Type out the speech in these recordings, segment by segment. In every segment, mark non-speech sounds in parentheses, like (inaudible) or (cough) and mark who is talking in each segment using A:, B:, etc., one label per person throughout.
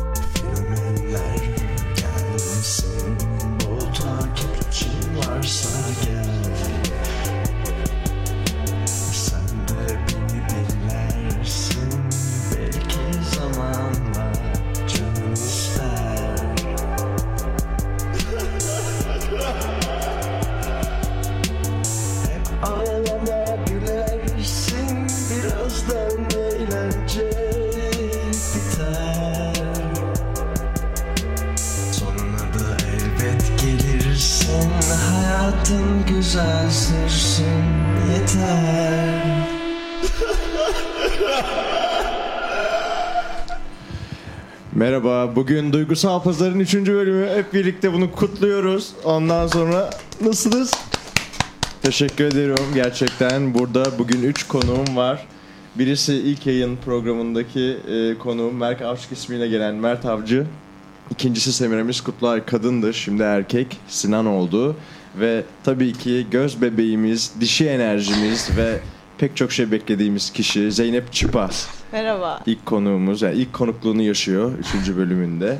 A: Gönüller gelmesin Bu takipçin varsa gel Sen de beni dinlersin Belki zamanla canım ister Hep ağlama gülersin Birazdan eğlence biter Sonuna da elbet gelirsin Hayatın güzel sürsün yeter
B: Merhaba, bugün Duygusal Pazar'ın 3. bölümü. Hep birlikte bunu kutluyoruz. Ondan sonra nasılsınız? Teşekkür ederim gerçekten. Burada bugün 3 konuğum var. Birisi ilk yayın programındaki e, konuğum Mert Avşık ismiyle gelen Mert Avcı. İkincisi Semiramis Kutlar kadındı, şimdi erkek. Sinan oldu. Ve tabii ki göz bebeğimiz, dişi enerjimiz ve pek çok şey beklediğimiz kişi Zeynep Çipa.
C: Merhaba.
B: İlk konuğumuz, yani ilk konukluğunu yaşıyor 3. bölümünde.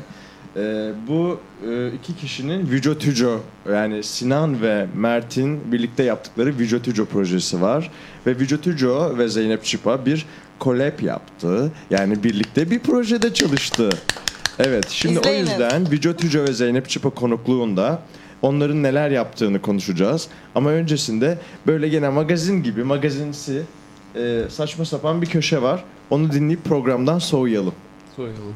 B: Ee, bu e, iki kişinin Vücotüco yani Sinan ve Mert'in birlikte yaptıkları Vücotüco projesi var. Ve Vücotüco ve Zeynep Çipa bir collab yaptı. Yani birlikte bir projede çalıştı. Evet şimdi
C: İzleyelim.
B: o yüzden Vücotüco ve Zeynep Çipa konukluğunda onların neler yaptığını konuşacağız. Ama öncesinde böyle gene magazin gibi magazinsi e, saçma sapan bir köşe var. Onu dinleyip programdan soğuyalım.
D: Soyalım.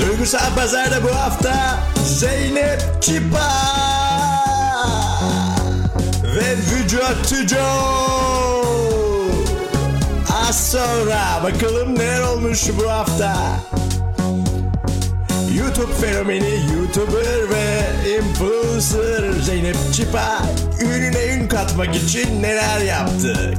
A: Duygusal Pazar'da bu hafta Zeynep Çipa ve Vücut Tüco. Az sonra bakalım neler olmuş bu hafta. YouTube fenomeni YouTuber ve influencer Zeynep Çipa ürüne ün katmak için neler yaptı?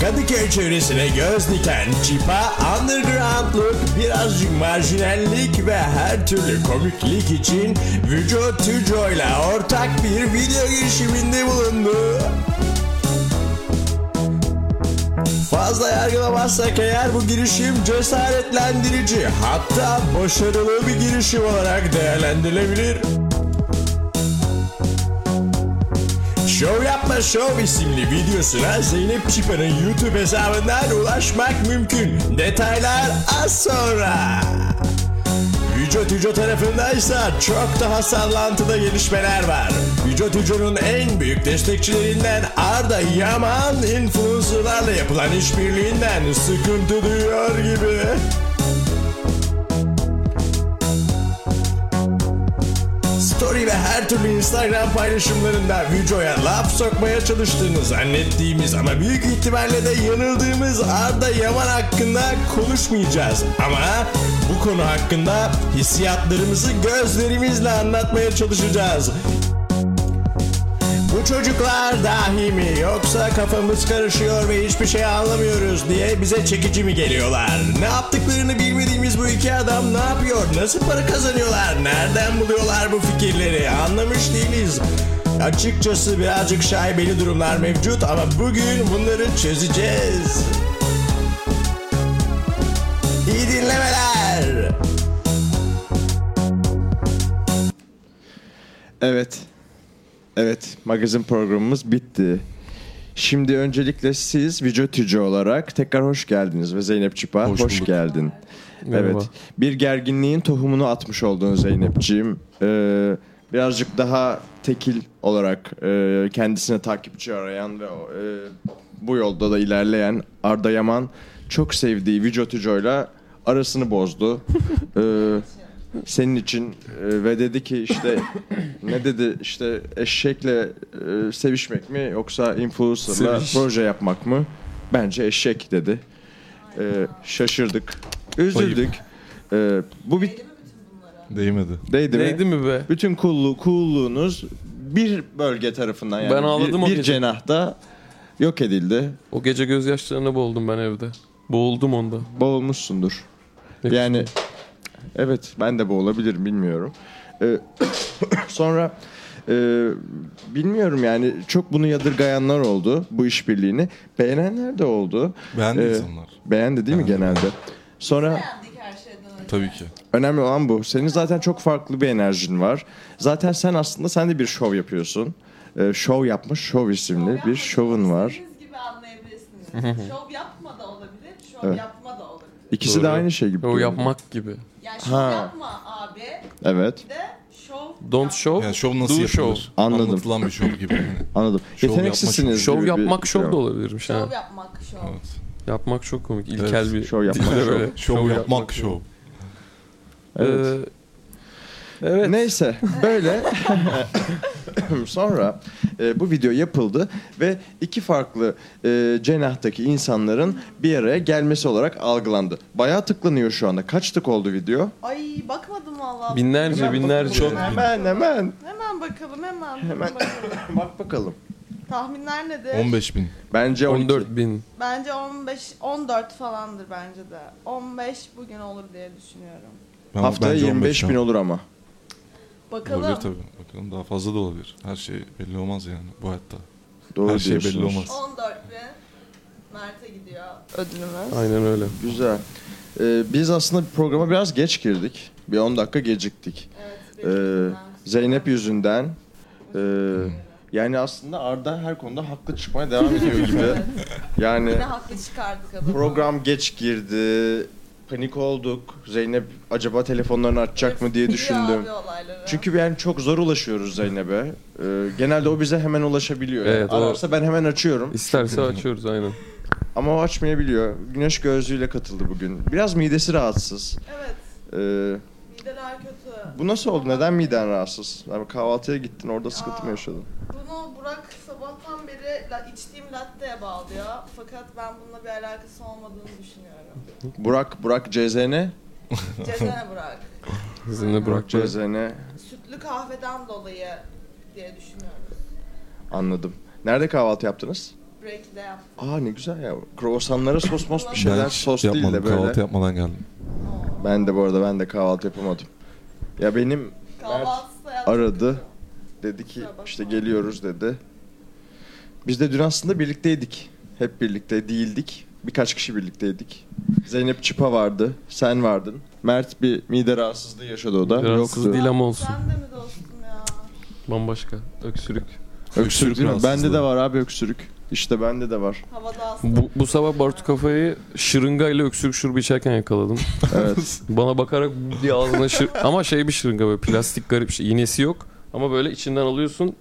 A: Kadıköy çevresine göz diken Çipa undergroundluk, birazcık marjinallik ve her türlü komiklik için Vücut Tüco ile ortak bir video girişiminde bulundu. Fazla yargılamazsak eğer bu girişim cesaretlendirici hatta başarılı bir girişim olarak değerlendirilebilir. Şov Yapma Şov isimli videosuna Zeynep Çipa'nın YouTube hesabından ulaşmak mümkün. Detaylar az sonra. Vücut Hüco tarafındaysa çok daha sallantıda gelişmeler var. Vücut Hüco'nun en büyük destekçilerinden Arda Yaman influencerlarla yapılan işbirliğinden sıkıntı duyuyor gibi. Story ve her türlü Instagram paylaşımlarında videoya laf sokmaya çalıştığını zannettiğimiz ama büyük ihtimalle de yanıldığımız Arda Yaman hakkında konuşmayacağız. Ama bu konu hakkında hissiyatlarımızı gözlerimizle anlatmaya çalışacağız. Bu çocuklar dahi mi yoksa kafamız karışıyor ve hiçbir şey anlamıyoruz diye bize çekici mi geliyorlar? Ne yaptıklarını bilmediğimiz bu iki adam ne yapıyor? Nasıl para kazanıyorlar? Nereden buluyorlar bu fikirleri? Anlamış değiliz. Açıkçası birazcık şaibeli durumlar mevcut ama bugün bunları çözeceğiz. İyi dinlemeler.
B: Evet. Evet, magazin programımız bitti. Şimdi öncelikle siz Vücotüco olarak tekrar hoş geldiniz ve Zeynep Çipa hoş,
D: Hoş bulduk.
B: geldin.
D: Merhaba.
B: Evet. Bir gerginliğin tohumunu atmış oldun Zeynep'ciğim. Ee, birazcık daha tekil olarak e, kendisine takipçi arayan ve o, e, bu yolda da ilerleyen Arda Yaman çok sevdiği Vücotüco'yla arasını
D: (laughs)
B: bozdu. Ee, senin için e, ve dedi ki
D: (coughs)
B: işte ne dedi işte eşekle e, sevişmek mi yoksa influencerla
D: Seviş.
B: proje yapmak mı? Bence eşek dedi. E, şaşırdık. Üzüldük. E, bu bir
E: Değmedi.
B: değdi,
D: Neydi
B: mi?
D: mi be?
B: Bütün kullu coolluğunuz bir bölge tarafından yani
D: Ben ağladım
B: bir,
D: o
B: bir
D: gece.
B: cenahta yok edildi.
D: O gece gözyaşlarına boğuldum ben evde. Boğuldum onda.
B: Boğulmuşsundur. Yani evet ben de bu olabilir bilmiyorum. Ee, (coughs) sonra Ee, bilmiyorum yani çok bunu yadırgayanlar oldu bu işbirliğini. Beğenenler de oldu.
C: Beğendi
B: Ee,
C: insanlar.
B: Beğendi değil mi genelde? Sonra
E: Beğendik her şeyden önce.
C: Tabii ki.
B: Önemli olan bu. Senin zaten çok farklı bir enerjin var. Zaten sen aslında sen de bir şov yapıyorsun. Ee, şov yapmış şov isimli bir şovun var.
E: İstediğiniz gibi anlayabilirsiniz. şov yapma da olabilir, şov
B: Evet.
E: yapma da olabilir.
B: İkisi
D: Doğru.
B: de aynı şey gibi.
D: O
B: görünüyor.
D: yapmak gibi.
E: Yani şov
B: Ha.
E: yapma abi
B: Evet
E: de şov
D: Don't
E: yap-
D: show,
C: Yani şov nasıl
D: do
C: yapılır?
D: show.
B: Anladım.
C: Anlatılan bir şov (laughs) gibi. yani.
B: anladım.
C: Şov
B: Yeteneksizsiniz.
C: yapmak-
D: Şov
B: gibi bir- şey
D: yapmak şov da olabilirmiş ha.
E: Şov yapmak şov.
C: Evet.
D: Yapmak çok komik. İlkel
C: Evet.
D: bir
B: Şov yapmak
D: dilde
B: şov.
D: böyle.
C: Şov yapmak şov.
B: Evet.
D: Ee, evet.
B: Neyse böyle (laughs) sonra e, bu video yapıldı ve iki farklı e, cenahtaki insanların bir araya gelmesi olarak algılandı. Bayağı tıklanıyor şu anda. Kaç tık oldu video?
E: Ay bakmadım valla.
D: Binlerce binlerce.
C: Çok-
B: Hemen hemen.
E: Hemen bakalım hemen.
B: Hemen.
E: bakalım.
B: Bak bakalım.
E: Tahminler nedir?
C: 15 bin.
B: Bence 12.
D: 14 bin.
E: Bence 15, 14 falandır bence de. 15 bugün olur diye düşünüyorum.
C: Ben,
B: Haftaya
C: bence 15
B: 25 bin
C: şu an.
B: olur ama.
E: Bakalım.
C: Olabilir tabii. Bakalım daha fazla da olabilir. Her şey belli olmaz yani bu hayatta.
B: Doğru
C: Her şey belli
B: diyorsunuz.
C: olmaz.
E: 14 bin. Mert'e gidiyor ödülümüz.
D: Aynen öyle.
B: Güzel. Ee, biz aslında programa biraz geç girdik. Bir 10 dakika geciktik. Ee,
E: Evet. benim
B: Zeynep yüzünden. Ee, yani aslında Arda her konuda haklı çıkmaya devam ediyor gibi.
E: (laughs)
B: Yani
E: Yine haklı çıkardık adamı.
B: program geç girdi. Panik olduk. Zeynep acaba telefonlarını açacak mı diye
E: Biliyor
B: düşündüm.
E: abi olayları.
B: Çünkü yani çok zor ulaşıyoruz Zeynep'e. Ee, genelde o bize hemen ulaşabiliyor.
D: Evet, o-
B: Ararsa ben hemen açıyorum.
D: İsterse açıyoruz aynen.
B: Ama o açmayabiliyor. Güneş gözlüğüyle katıldı bugün. Biraz midesi rahatsız.
E: Evet.
B: Ee,
E: Mideler kötü.
B: bu nasıl oldu? Neden miden rahatsız? Yani kahvaltıya gittin orada sıkıntı mı yaşadın?
E: Bunu Burak sabahtan beri la, içtiğim latte'ye bağlıyor. Fakat ben bununla bir alakası
B: (laughs)
E: olmadığını düşünüyorum.
B: Burak, Burak CZN.
E: Cezene Burak.
D: İzinle
B: Burak
D: bırakacağız.
B: CZN.
E: Sütlü kahveden dolayı diye düşünüyoruz.
B: Anladım. Nerede kahvaltı yaptınız?
E: Break'de yap.
B: Aa ne güzel ya. Kruvasanlara sos mos bir şeyler.
C: ben hiç
B: sos değil
C: yapmadım.
B: de böyle.
C: Kahvaltı yapmadan geldim.
B: Ben de bu arada ben de kahvaltı yapamadım. Ya benim
E: Kahvaltısı da yaptık.
B: aradı. Dedi ki
E: Kusura bakma.
B: işte geliyoruz dedi. Biz de dün aslında birlikteydik. Hep birlikte değildik. Birkaç kişi birlikteydik. Zeynep Çipa vardı. Sen vardın. Mert bir mide rahatsızlığı yaşadı o da.
D: Rahatsız
B: Yoktu.
D: değil ama olsun.
E: Sen de mi dostum ya?
D: Bambaşka. Öksürük.
B: Öksürük değil mi? Bende de
C: rahatsızlığı.
B: var abi öksürük. İşte bende de
C: (laughs)
B: var.
E: Havada aslında.
D: Bu, bu sabah Bartu kafayı şırınga ile öksürük şurubu içerken yakaladım.
B: Evet.
D: Bana bakarak diye ağzına şır...
B: (laughs)
D: Ama şey bir şırınga böyle plastik garip şey. İğnesi yok. Ama böyle içinden alıyorsun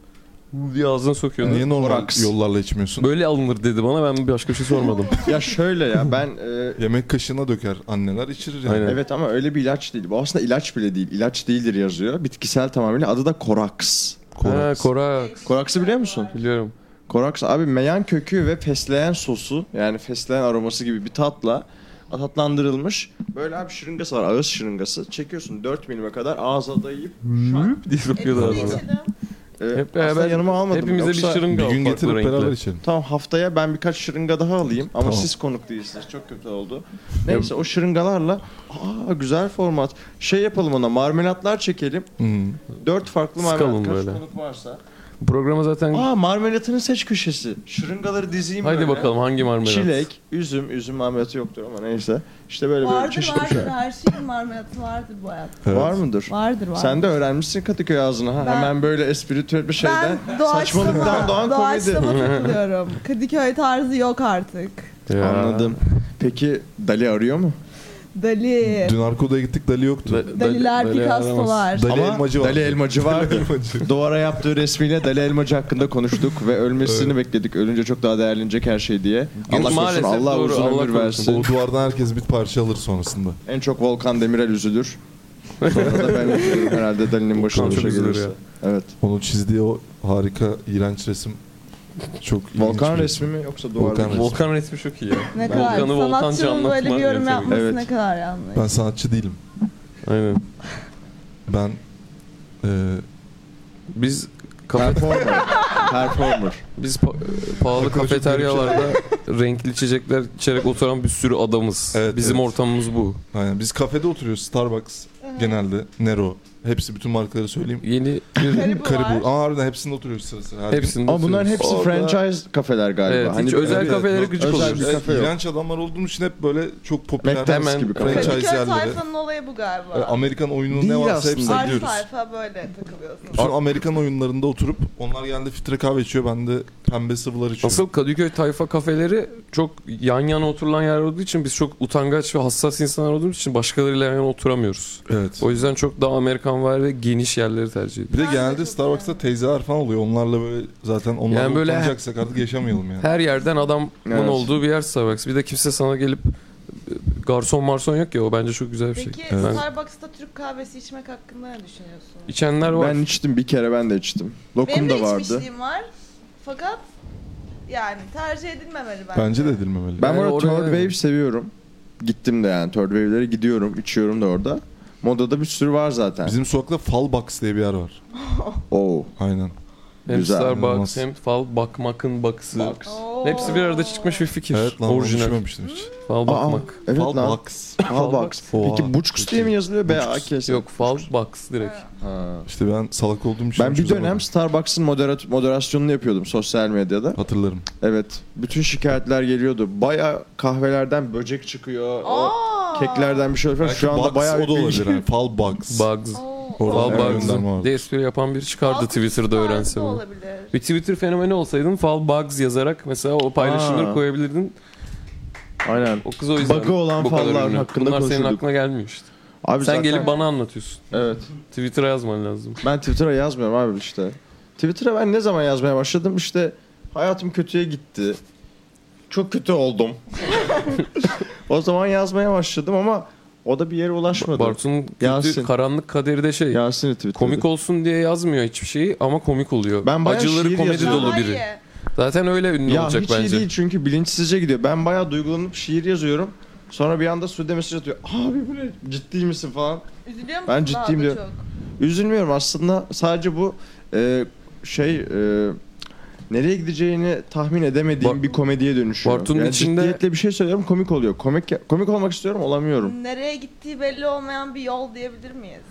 D: diye ağzına sokuyorsun.
C: Niye normal
B: Oraks.
C: yollarla içmiyorsun?
D: Böyle alınır dedi bana. Ben başka bir
B: (laughs)
D: şey sormadım.
B: ya şöyle ya ben e,
C: Yemek kaşığına döker anneler içirir yani.
D: Aynen.
B: evet ama öyle bir ilaç değil. Bu aslında ilaç bile değil. İlaç değildir yazıyor. Bitkisel tamamıyla adı da Koraks.
D: Ha,
C: Koraks.
D: Korak.
B: Koraksı biliyor musun?
D: Biliyorum.
B: Koraks abi meyan kökü ve fesleğen sosu yani fesleğen aroması gibi bir tatla tatlandırılmış. Böyle abi şırıngası var ağız şırıngası. Çekiyorsun 4 milime kadar ağza dayayıp şak.
D: Hüp diye sokuyorlar
E: Hepsini
D: bana.
E: içelim.
B: Ee,
D: Hep
B: aslında
D: beraber
B: yanıma almadım.
D: Hepimize
B: Yoksa-
D: bir şırınga
C: Bir
D: al,
C: gün
D: farklı
C: getirip
D: renkli.
C: beraber içelim.
B: Tamam haftaya ben birkaç şırınga daha alayım ama
C: Tamam.
B: siz konuk değilsiniz. Çok kötü oldu. Neyse o şırıngalarla aa güzel format. Şey yapalım ona marmelatlar çekelim.
C: Hı.
B: 4 farklı marmelat.
D: Sıkalım
B: Kaç
D: böyle.
B: konuk varsa.
D: Programa zaten...
B: Aa marmelatını seç köşesi. Şırıngaları dizeyim
D: Haydi
B: böyle.
D: bakalım hangi marmelat?
B: Çilek, üzüm, üzüm marmelatı yoktur ama neyse. İşte böyle böyle
E: Vardır
B: çeşitli şey.
E: vardır her şeyin marmelatı vardır bu hayatta.
C: Evet.
B: Var mıdır?
E: Vardır vardır.
B: Sen de öğrenmişsin Kadıköy ağzını ha.
E: Ben-
B: Hemen böyle espritüel bir şeyden
E: ben
B: saçmalıktan doğan komedi. (laughs)
E: doğaçlama takılıyorum. Kadıköy tarzı yok artık.
D: Ya.
B: Anladım. Peki Dali arıyor mu?
E: Dali,
C: Dün Arko'da gittik Dali yoktu.
D: Da-
E: Daliler,
D: Dali aramaz.
E: Picasso'lar.
C: Dali
B: Ama
C: elmacı var.
B: Dali elmacı vardı.
C: Dali elmacı.
B: Duvara yaptığı resmiyle Dali Elmacı hakkında konuştuk ve ölmesini bekledik. Ölünce çok daha değerlenecek her şey diye.
D: Yok,
B: Allah korusun,
D: maalesef
B: Allah
D: doğru,
B: uzun
D: Allah
B: ömür versin.
D: korusun.
C: O duvardan herkes bir parça alır sonrasında.
B: En çok Volkan Demirel üzülür. Sonra da ben üzülürüm herhalde Dali'nin başına
D: Volkan
B: bir
D: çok
B: şey
D: üzülür
B: gelirse.
D: ya.
B: Evet.
C: Onun çizdiği o harika iğrenç resim çok ilginç
B: Volkan
C: bir-
B: resmi mi yoksa duvar
C: Volkan
B: mı?
C: resmi.
D: Volkan resmi çok iyi ya.
E: Ne kadar
D: Volkan'ı
E: sanatçının
D: Volkancı
E: böyle bir yorum
D: anlatman
E: yapması
B: Evet.
E: ne kadar yanlış.
C: Ben sanatçı değilim.
D: Aynen.
C: Ben e,
D: Biz kafe,
B: Performer. Performer.
D: biz pa- pahalı
C: Konuşup
D: kafeteryalarda (laughs) renkli içecekler içerek oturan bir sürü adamız.
C: Evet,
D: Bizim
C: evet.
D: ortamımız bu.
C: aynen biz kafede oturuyoruz Starbucks genelde Nero Hepsi bütün markaları söyleyeyim.
D: Yeni bir
E: Karibu var.
C: Karibur. Aa harbiden hepsinde oturuyor sıra sıra. her gün.
D: hepsinde.
B: Ama bunların hepsi
C: Orada-
B: franchise kafeler galiba. Hani
D: Evet, hiç özel
C: Evet,
D: kafelere
C: evet.
D: gıcık
B: Özel
D: oluyoruz.
B: bir kafe yok.
C: İğrenç adamlar olduğumuz için hep böyle çok popüler.
B: McDonald's
D: Hemen-
B: gibi kafeler.
C: Franchise
E: Kadıköy
C: yerleri.
E: tayfanın olayı bu galiba.
C: E, Amerikan oyununun
B: Değil
C: ne varsa
B: aslında.
C: hepsine
E: Her
C: gidiyoruz.
E: sayfa böyle takılıyorsunuz.
C: Bütün Amerikan oyunlarında oturup onlar geldi filtre kahve içiyor ben de pembe sıvılar içiyorum.
D: Asıl Kadıköy tayfa kafeleri çok yan yana oturulan yer olduğu için biz çok utangaç ve hassas insanlar olduğumuz için başkalarıyla yan yana oturamıyoruz.
C: Evet.
D: O yüzden çok daha Amerikan var ve geniş yerleri tercih ediyoruz.
C: Bir de
E: Ben de
C: genelde
E: çok
C: Starbucks'ta teyzeler falan oluyor. Onlarla böyle zaten onlarla
D: Yani böyle-
C: utanacaksak artık yaşamayalım yani.
D: Her yerden adamın
B: Evet.
D: olduğu bir yer Starbucks. Bir de kimse sana gelip e, garson marson yok ya o bence çok güzel bir şey.
E: Peki
D: Ben-
E: Starbucks'ta Türk kahvesi içmek hakkında ne düşünüyorsunuz?
D: İçenler var.
B: Ben içtim bir kere ben de içtim. Lokum
E: Benim de
B: da vardı.
E: içmişliğim var. Fakat yani tercih edilmemeli bence.
C: Bence de edilmemeli.
B: Ben
D: Yani
B: bu arada
D: oraya-
B: Third Wave seviyorum. Gittim de yani Third Wave'lere gidiyorum, içiyorum da orada. Modada bir sürü var zaten.
C: Bizim sokakta Falbox diye bir yer var.
B: Oo.
C: Aynen.
D: hem
B: güzel,
D: Starbucks
C: inanılmaz.
D: hem Fal Bakmak'ın baksı.
B: Box.
E: Oo.
D: Hepsi bir arada çıkmış bir fikir.
C: Evet lan Orijinal.
D: Orijinal.
C: düşünmemiştim hiç.
D: Fal Bakmak.
B: Evet lan.
C: Falbox.
B: Fal box.
C: Oha,
B: Peki Buçkus diye mi yazılıyor? B A K S.
D: Yok Fal Box direkt.
E: Ha.
B: Ha.
C: İşte ben salak olduğum için
B: Ben bir
C: çözemedim.
B: dönem Starbucks'ın moderat moderasyonunu yapıyordum sosyal medyada.
C: hatırlarım.
B: Evet. Bütün şikayetler geliyordu. Baya kahvelerden böcek çıkıyor. O
E: Aa.
B: keklerden bir şey falan. Şu anda bayağı
C: o da olabilir.
B: bilgi- (laughs)
C: Yani. Falbox.
D: Bugs.
E: Oo.
C: Oradan
D: Fal
C: Vallahi
E: Aa,
C: bir
D: Bugs'ı
C: gönderme vardı.
D: diye espri yapan biri çıkardı
E: Alkış
D: Twitter'da
E: tarzı
D: öğrense
E: da
D: bunu.
E: olabilir.
D: Bir Twitter fenomeni olsaydın Fal Bugs yazarak mesela o paylaşımları
B: Aa.
D: koyabilirdin.
B: Aynen.
D: O kız o yüzden
B: Bug'ı olan
D: bu kadar
B: fallar
D: ünlü.
B: hakkında
D: Bunlar senin
B: konuşuyorduk.
D: aklına gelmiyor işte.
B: Abi
D: Sen
B: zaten-
D: gelip bana anlatıyorsun.
B: Evet.
D: Twitter'a yazman lazım.
B: Ben Twitter'a yazmıyorum abi işte. Twitter'a ben ne zaman yazmaya başladım? İşte hayatım kötüye gitti. Çok kötü oldum. o zaman yazmaya başladım ama o da bir yere ulaşmadı.
D: Bartu'nun kötü
B: Yasin.
D: karanlık kaderi de şey.
B: Yasin'i Twitter'da.
D: Komik olsun diye yazmıyor hiçbir şeyi ama komik oluyor.
B: Ben bayağı
D: Acıları
B: şiir
D: komedi
B: yazıyorum.
D: dolu
E: Daha
D: biri.
E: iyi.
D: Zaten öyle ünlü
B: ya
D: olacak
B: hiç iyi
D: bence.
B: değil çünkü bilinçsizce gidiyor. Ben bayağı duygulanıp şiir yazıyorum. Sonra bir anda Sude mesaj atıyor. Abi bu ne? Ciddi misin falan.
E: Üzülüyor musun
B: Ben
E: daha
B: ciddiyim
E: da
B: diyor.
E: çok?
B: Üzülmüyorum aslında. Sadece bu e, şey e, nereye gideceğini tahmin edemediğim
D: Bar-
B: bir komediye dönüşüyor.
D: Bartu'nun
B: yani
D: içinde-
B: ciddiyetle bir şey söylüyorum komik oluyor. Komik komik olmak istiyorum olamıyorum.
E: Nereye gittiği belli olmayan bir yol diyebilir miyiz?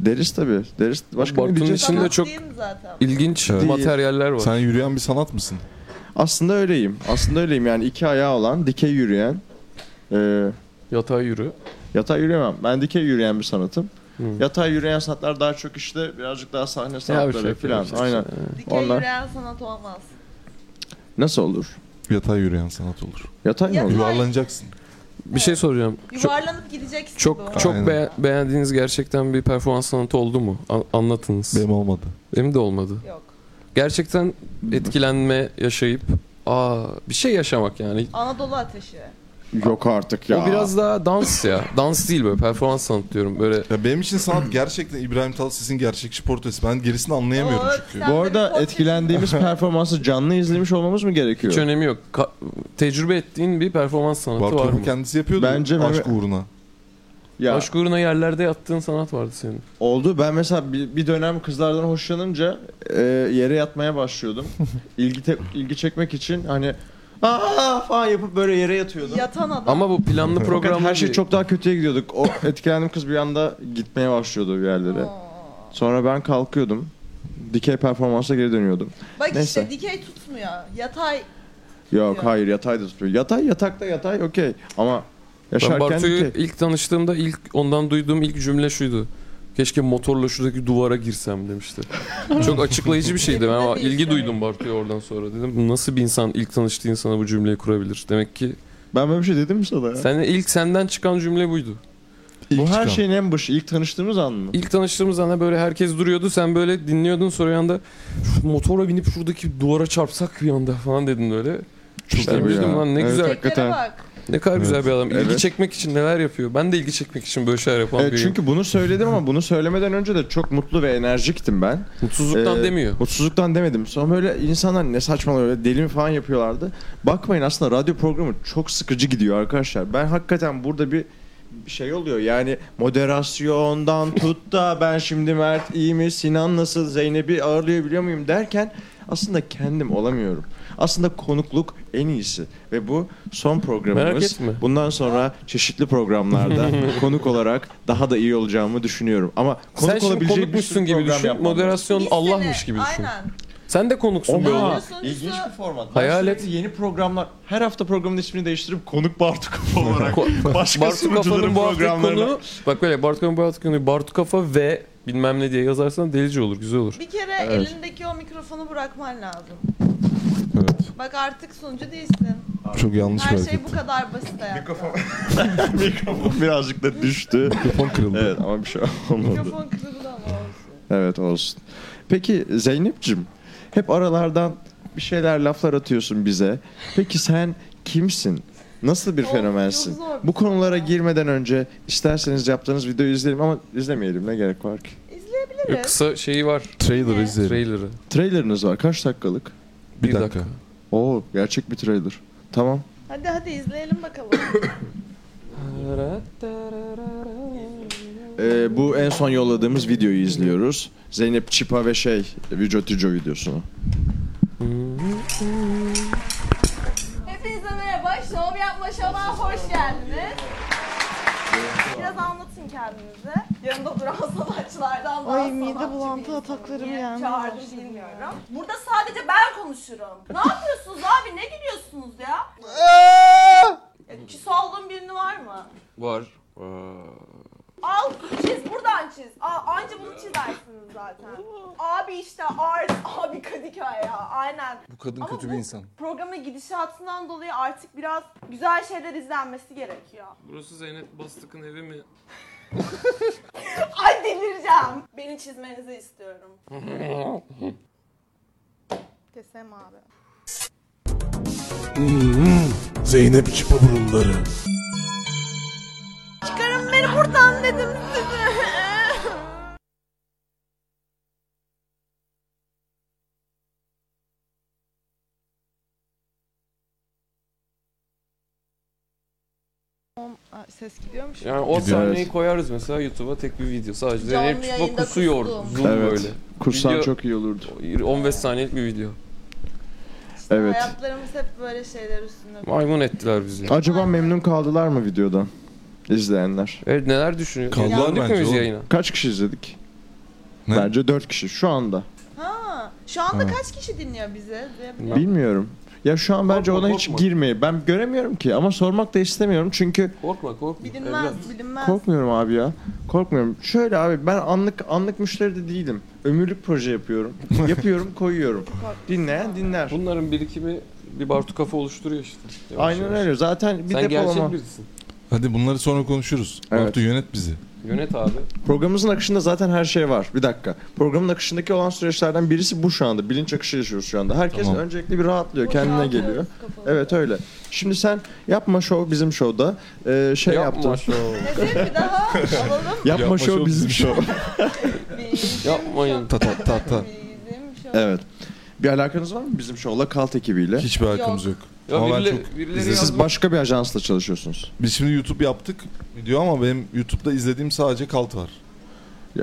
B: Deriz tabii. Deriz başka
D: Bartu'nun
B: ne diyeceğiz?
D: içinde-
E: Sanat
D: çok-
E: değil mi zaten?
D: İlginç
C: Evet.
D: materyaller var.
C: Sen yürüyen bir sanat mısın?
B: Aslında öyleyim. Aslında öyleyim yani iki ayağı olan, dikey yürüyen e,
D: Yatağa yürü.
B: yatay yürüyemem. Ben dikey yürüyen bir sanatım.
D: Hı.
B: Yatay yürüyen sanatlar daha çok işte birazcık daha sahne sanatları
D: şey,
B: falan.
D: bir şey.
B: Aynen.
E: Dikey
B: Onlar-
E: yürüyen sanat olmaz.
B: Nasıl olur?
C: Yatay yürüyen sanat olur.
B: Yatay mı
E: Yatay.
B: olur?
C: Yuvarlanacaksın.
D: Bir şey soracağım. Çok
E: Yuvarlanıp gideceksin bu.
D: çok, çok
C: Aynen.
D: be- beğendiğiniz gerçekten bir performans sanatı oldu mu? A- anlatınız. Benim.
C: Benim olmadı.
D: de olmadı.
E: Yok.
D: Gerçekten etkilenme yaşayıp aa bir şey yaşamak yani.
E: Anadolu ateşi.
B: Yok artık ya.
D: O biraz daha dans ya. Dans değil böyle performans sanatı diyorum. Böyle
C: Ya benim için sanat gerçekten İbrahim Tatlıses'in gerçekçi portresi. Ben gerisini anlayamıyorum
E: Oo,
C: çünkü.
E: sen
B: Bu
E: de
B: arada
E: bir podcast-
B: etkilendiğimiz performansı canlı izlemiş olmamız mı gerekiyor?
D: hiç önemi yok. Ka- tecrübe ettiğin bir performans sanatı
C: Bartu
D: var mı?
C: kendisi yapıyordu.
B: Bence
C: aşk
B: Mehmet-
C: uğruna.
B: Ya
D: Aşk uğruna yerlerde yattığın sanat vardı senin.
B: oldu. Ben mesela bir, bir dönem kızlardan hoşlanınca e, yere yatmaya başlıyordum. ilgi te- ilgi çekmek için hani aa falan yapıp böyle yere yatıyordum.
E: Yatan adam.
D: Ama bu planlı
B: Fakat
D: program
B: her şey çok daha kötüye gidiyorduk. O etkilendiğim kız bir anda gitmeye başlıyordu bir yerlere.
E: Oo.
B: Sonra ben kalkıyordum. Dikey performansa geri dönüyordum.
E: Bak
B: Neyse.
E: işte dikey tutmuyor. Yatay
B: Yok
E: Ya.
B: hayır yatay da tutmuyor. Yatay yatakta yatay okey ama
D: Ben
B: yaşarken
D: Bartu'yu
B: dikey.
D: ilk tanıştığımda ilk ondan duyduğum ilk cümle şuydu. Keşke motorla şuradaki duvara
B: (laughs)
D: girsem demişti. Çok açıklayıcı bir şeydi. Ben ama ilgi duydum Bartu'ya oradan sonra. Dedim nasıl bir insan ilk tanıştığı insana bu cümleyi kurabilir? Demek ki
B: Ben böyle bir şey dedim mi sana ya?
D: sen ilk senden çıkan cümle buydu.
B: Bu her
C: çıkan.
B: şeyin en başı. ilk tanıştığımız an mı?
D: İlk tanıştığımız anda böyle herkes duruyordu. Sen böyle dinliyordun sonra yanda şu motora binip şuradaki duvara çarpsak bir anda falan dedin böyle.
B: Çok
D: Ben duydum lan ne güzel.
E: teklere bak.
D: Ne kadar güzel
C: Evet.
D: bir adam. İlgi
B: Evet.
D: çekmek için neler yapıyor. Ben de ilgi çekmek için böyle şeyler yapan
B: Evet,
D: biriyim.
B: E, çünkü bunu söyledim ama bunu söylemeden önce de çok mutlu ve enerjiktim ben.
D: Mutsuzluktan
B: Ee,
D: demiyor.
B: Mutsuzluktan demedim. Sonra böyle insanlar ne saçmalıyor böyle deli mi falan yapıyorlardı. Bakmayın aslında radyo programı çok sıkıcı gidiyor arkadaşlar. Ben hakikaten burada bir şey oluyor yani
D: (laughs)
B: moderasyondan tut da ben şimdi Mert iyi mi Sinan nasıl Zeynep'i ağırlayabiliyor muyum derken aslında kendim olamıyorum. Aslında konukluk en iyisi ve bu son programımız.
D: Merak etme.
B: Bundan sonra çeşitli programlarda
D: (laughs)
B: konuk olarak daha da iyi olacağımı düşünüyorum. Ama konuk
D: Sen şimdi
B: olabilecek bir
D: konukmuşsun
B: sürü
D: gibi
B: program
D: düşün.
B: yapmam lazım.
D: Moderasyon
E: Bir sene,
D: Allah'mış gibi düşün.
E: Aynen.
D: Sen de konuksun be
E: Ama-
D: oğlum. (laughs)
E: Ama- Sonuçta-
B: İlginç bir format. Ben
D: Hayal et.
B: sürekli Yeni programlar. Her hafta programın ismini değiştirip konuk Bartu Kafa (laughs) olarak.
D: Ko-
B: Başka
D: Bartu Kafa'nın
B: sunucuların
D: bu haftaki
B: programlarına.
D: konu... Bak böyle Bartu Kafa'nın bu haftaki konu Bartu Kafa ve bilmem ne diye yazarsan delici olur, güzel olur.
E: Bir kere elindeki o mikrofonu bırakman lazım.
C: Evet.
E: Bak artık sunucu değilsin.
C: Çok yanlış bir
E: Her
C: hareket.
E: şey bu kadar basit hayatım.
B: Mikrofon (laughs) birazcık da düştü.
C: Mikrofon kırıldı.
B: evet ama bir şey olmadı.
E: Mikrofon kırıldı ama olsun.
B: Evet olsun. Peki Zeynep'cim hep aralardan bir şeyler laflar atıyorsun bize. Peki sen kimsin? Nasıl bir
E: Of,
B: fenomensin?
E: çok zor bir
B: Bu konulara
E: soru.
B: girmeden önce isterseniz yaptığınız videoyu izleyelim ama izlemeyelim ne gerek var ki?
D: Yok,
E: İzleyebiliriz.
D: Kısa şeyi var,
C: Trailer izleyelim.
D: trailer'ı.
B: Trailerınız var kaç dakikalık?
C: Bir dakika.
B: Oo gerçek bir trailer. Tamam.
E: Hadi hadi izleyelim (laughs) bakalım.
B: Ee, bu en son yolladığımız videoyu izliyoruz. Zeynep Çipa ve şey Vücutico videosunu.
E: Hepinize merhaba. Şov yapma şova hoş geldiniz. Biraz anlatın kendinizi. Yanında duran (laughs) sanatçılardan daha
F: Ay, mide
E: sanatçı
F: bulantı
E: bir insanım
F: ataklarım
E: diye
F: gelmeye
E: Çağırdım
F: başladı.
E: bilmiyorum. Burada sadece ben konuşurum. Ne yapıyorsunuz abi? Ne gülüyorsunuz ya? Ya, Küs olduğun birini var mı?
D: Var.
E: Al çiz buradan çiz. Aa, anca bunu çizersiniz zaten. Abi işte art, abi Kadıköy ya aynen.
G: Bu kadın
E: Ama
G: kötü
E: bu-
G: bir insan.
E: Programın gidişatından dolayı artık biraz güzel şeyler izlenmesi gerekiyor.
D: Burası Zeynep Bastık'ın evi mi?
E: Ay delireceğim. Beni çizmenizi istiyorum. Desem abi.
C: Zeynep Çipa burunları.
E: Çıkarın beni buradan dedim size.
F: Aa, Ses gidiyormuş.
D: Yani o
B: Gidiyor,
D: sahneyi
B: evet.
D: koyarız mesela YouTube'a tek bir video. Sadece
E: Canlı
D: Zeynep Çipa
E: yayında
D: kusuyor.
E: kustum.
D: Zoom
B: Evet.
D: böyle.
B: Kursan
D: Video-
B: çok iyi olurdu.
D: 15 saniyelik bir video.
E: İşte
B: Evet.
E: Hayatlarımız hep böyle şeyler üstüne.
D: Maymun ettiler bizi.
B: Acaba memnun kaldılar mı videodan izleyenler?
D: Evet neler düşünüyor?
C: Kaldılar
D: Geldik mi
C: bence
D: biz
C: oğlum.
D: yayına?
B: Kaç kişi izledik?
C: Ne?
B: Bence 4 kişi şu anda.
E: Ha, şu anda
C: Ha.
E: kaç kişi dinliyor bizi?
D: Ya.
B: Bilmiyorum. Ya şu an bence
D: Korkma,
B: ona hiç
D: korkma.
B: girmeyi. Ben göremiyorum ki ama sormak da istemiyorum çünkü
D: Korkma korkma. Evlat.
E: Bilinmez, bilinmez.
B: korkmuyorum abi ya. Korkmuyorum. Şöyle abi ben anlık anlık müşteri de değilim. Ömürlük proje (laughs) yapıyorum. yapıyorum, koyuyorum. Dinleyen dinler.
D: Bunların birikimi bir Bartu kafa oluşturuyor işte. Yavaş
B: Aynen
D: yavaş.
B: öyle. Zaten bir
D: Sen
B: depolama.
D: gerçek birisin.
C: Hadi bunları sonra konuşuruz.
B: Evet.
C: Bartu yönet bizi.
D: Yönet abi.
B: Programımızın akışında zaten her şey var. Bir dakika. Programın akışındaki olan süreçlerden birisi bu şu anda. Bilinç akışı yaşıyoruz şu anda. Herkes
C: Tamam.
B: öncelikle bir rahatlıyor, kendine
E: Boşaltıyoruz
B: geliyor.
E: kafamızı.
B: Evet öyle. Şimdi sen yapma show bizim showda Ee, şey
D: Yapma
B: yaptın.
D: şov.
E: Nedir E, bir daha? Alalım.
B: Yapma, show, bizim show.
E: Bizim
D: Yapmayın.
C: Ta ta
B: (laughs)
C: ta ta.
E: Bizim şu
B: evet. Bir alakanız var mı bizim show'la Kalt ekibiyle?
C: Hiçbir alakamız yok.
D: Ya
C: Ama ben
D: birile-
C: çok
D: birileri
C: izledim.
D: yazmış.
B: Siz başka bir ajansla çalışıyorsunuz.
C: Biz şimdi YouTube yaptık video ama benim YouTube'da izlediğim sadece kalt var.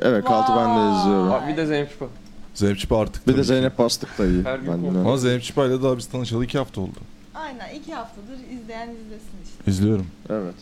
B: Evet Kalt'ı ben de
E: Vay.
B: izliyorum.
D: Abi bir de Zeynep Şipa.
C: Zeynep Çipa artık.
B: Bir de
C: tabii ki.
B: Zeynep Bastık da iyi.
D: Her gün
B: Ben de-
D: konuşuyoruz.
C: Ama Zeynep Çipa'yla daha biz tanışalı iki hafta oldu.
E: Aynen iki haftadır izleyen izlesin işte.
C: İzliyorum.
B: Evet.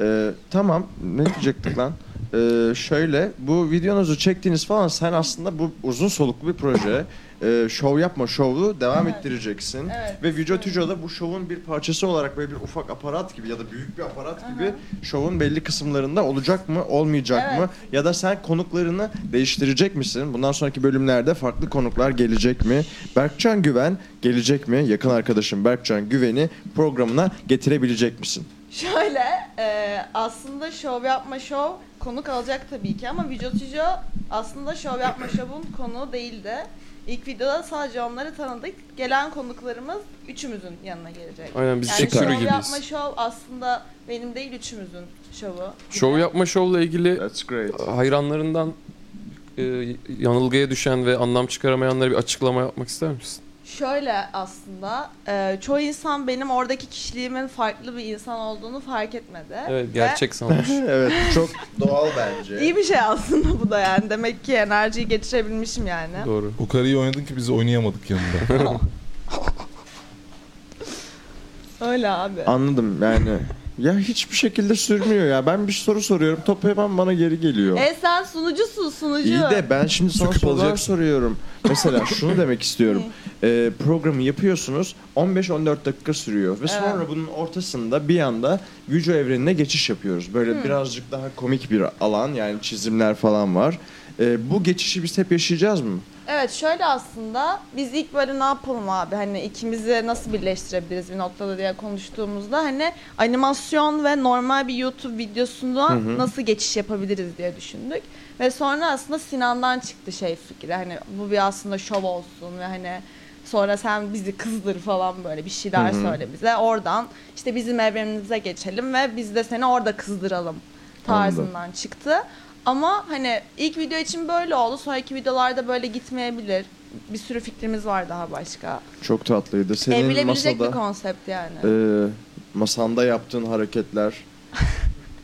B: Ee, tamam. Ne diyecektik lan? Ee, şöyle bu videonuzu çektiğiniz falan sen aslında bu uzun soluklu bir proje. Ee, şov yapma şovu devam
E: Evet.
B: ettireceksin.
E: Evet.
B: Ve Video Tüco da bu şovun bir parçası olarak böyle bir ufak aparat gibi ya da büyük bir aparat gibi şovun belli kısımlarında olacak mı olmayacak
E: Evet.
B: mı? Ya da sen konuklarını değiştirecek misin? Bundan sonraki bölümlerde farklı konuklar gelecek mi? Berkcan Güven gelecek mi? Yakın arkadaşım Berkcan Güven'i programına getirebilecek misin?
E: Şöyle e, aslında şov yapma şov konuk alacak tabii ki ama Vijotjo aslında şov yapma şovun konuğu değildi. İlk videoda sadece onları tanıdık. Gelen konuklarımız üçümüzün yanına gelecek.
D: Aynen biz
E: yani
D: yani
E: şov yapma
D: gibiyiz.
E: şov aslında benim değil üçümüzün şovu.
D: Şov yapma şovla ilgili e,
B: That's great.
D: hayranlarından e, yanılgıya düşen ve anlam çıkaramayanlara bir açıklama yapmak ister misin?
E: Şöyle aslında e, çoğu insan benim oradaki kişiliğimin farklı bir insan olduğunu fark etmedi.
D: Evet
E: Ve
B: (laughs)
D: gerçek sanmış.
B: evet çok doğal bence.
E: iyi bir şey aslında bu da yani. Demek ki enerjiyi geçirebilmişim yani.
D: Doğru.
C: O kadar iyi oynadın ki biz
B: (laughs)
C: oynayamadık yanında.
E: Öyle abi.
B: Anladım yani. Ya hiçbir şekilde sürmüyor ya. Ben bir soru soruyorum. Top hemen bana geri geliyor.
E: E sen sunucusun sunucu.
B: İyi de ben şimdi sana
C: Sıkıp
B: sorular
C: alacaksın.
B: soruyorum. Mesela şunu demek istiyorum. Ee, programı yapıyorsunuz 15-14 dakika sürüyor ve sonra bunun ortasında bir anda video evrenine geçiş yapıyoruz. Böyle birazcık daha komik bir alan yani çizimler falan var. Ee, bu geçişi biz hep yaşayacağız mı?
E: Evet şöyle aslında biz ilk böyle ne yapalım abi hani ikimizi nasıl birleştirebiliriz bir noktada diye konuştuğumuzda hani animasyon ve normal bir YouTube videosunda nasıl geçiş yapabiliriz diye düşündük. Ve sonra aslında Sinan'dan çıktı şey fikri hani bu bir aslında şov olsun ve hani sonra sen bizi kızdır falan böyle bir şeyler söyle bize oradan işte bizim evrenimize geçelim ve biz de seni orada kızdıralım tarzından çıktı. Ama hani ilk video için böyle oldu. Sonraki videolarda böyle gitmeyebilir. Bir sürü fikrimiz var daha başka.
B: Çok tatlıydı. Senin
E: Evrilebilecek E, bir
B: masada
E: konsept yani.
B: e, masanda yaptığın
E: (laughs)
B: hareketler,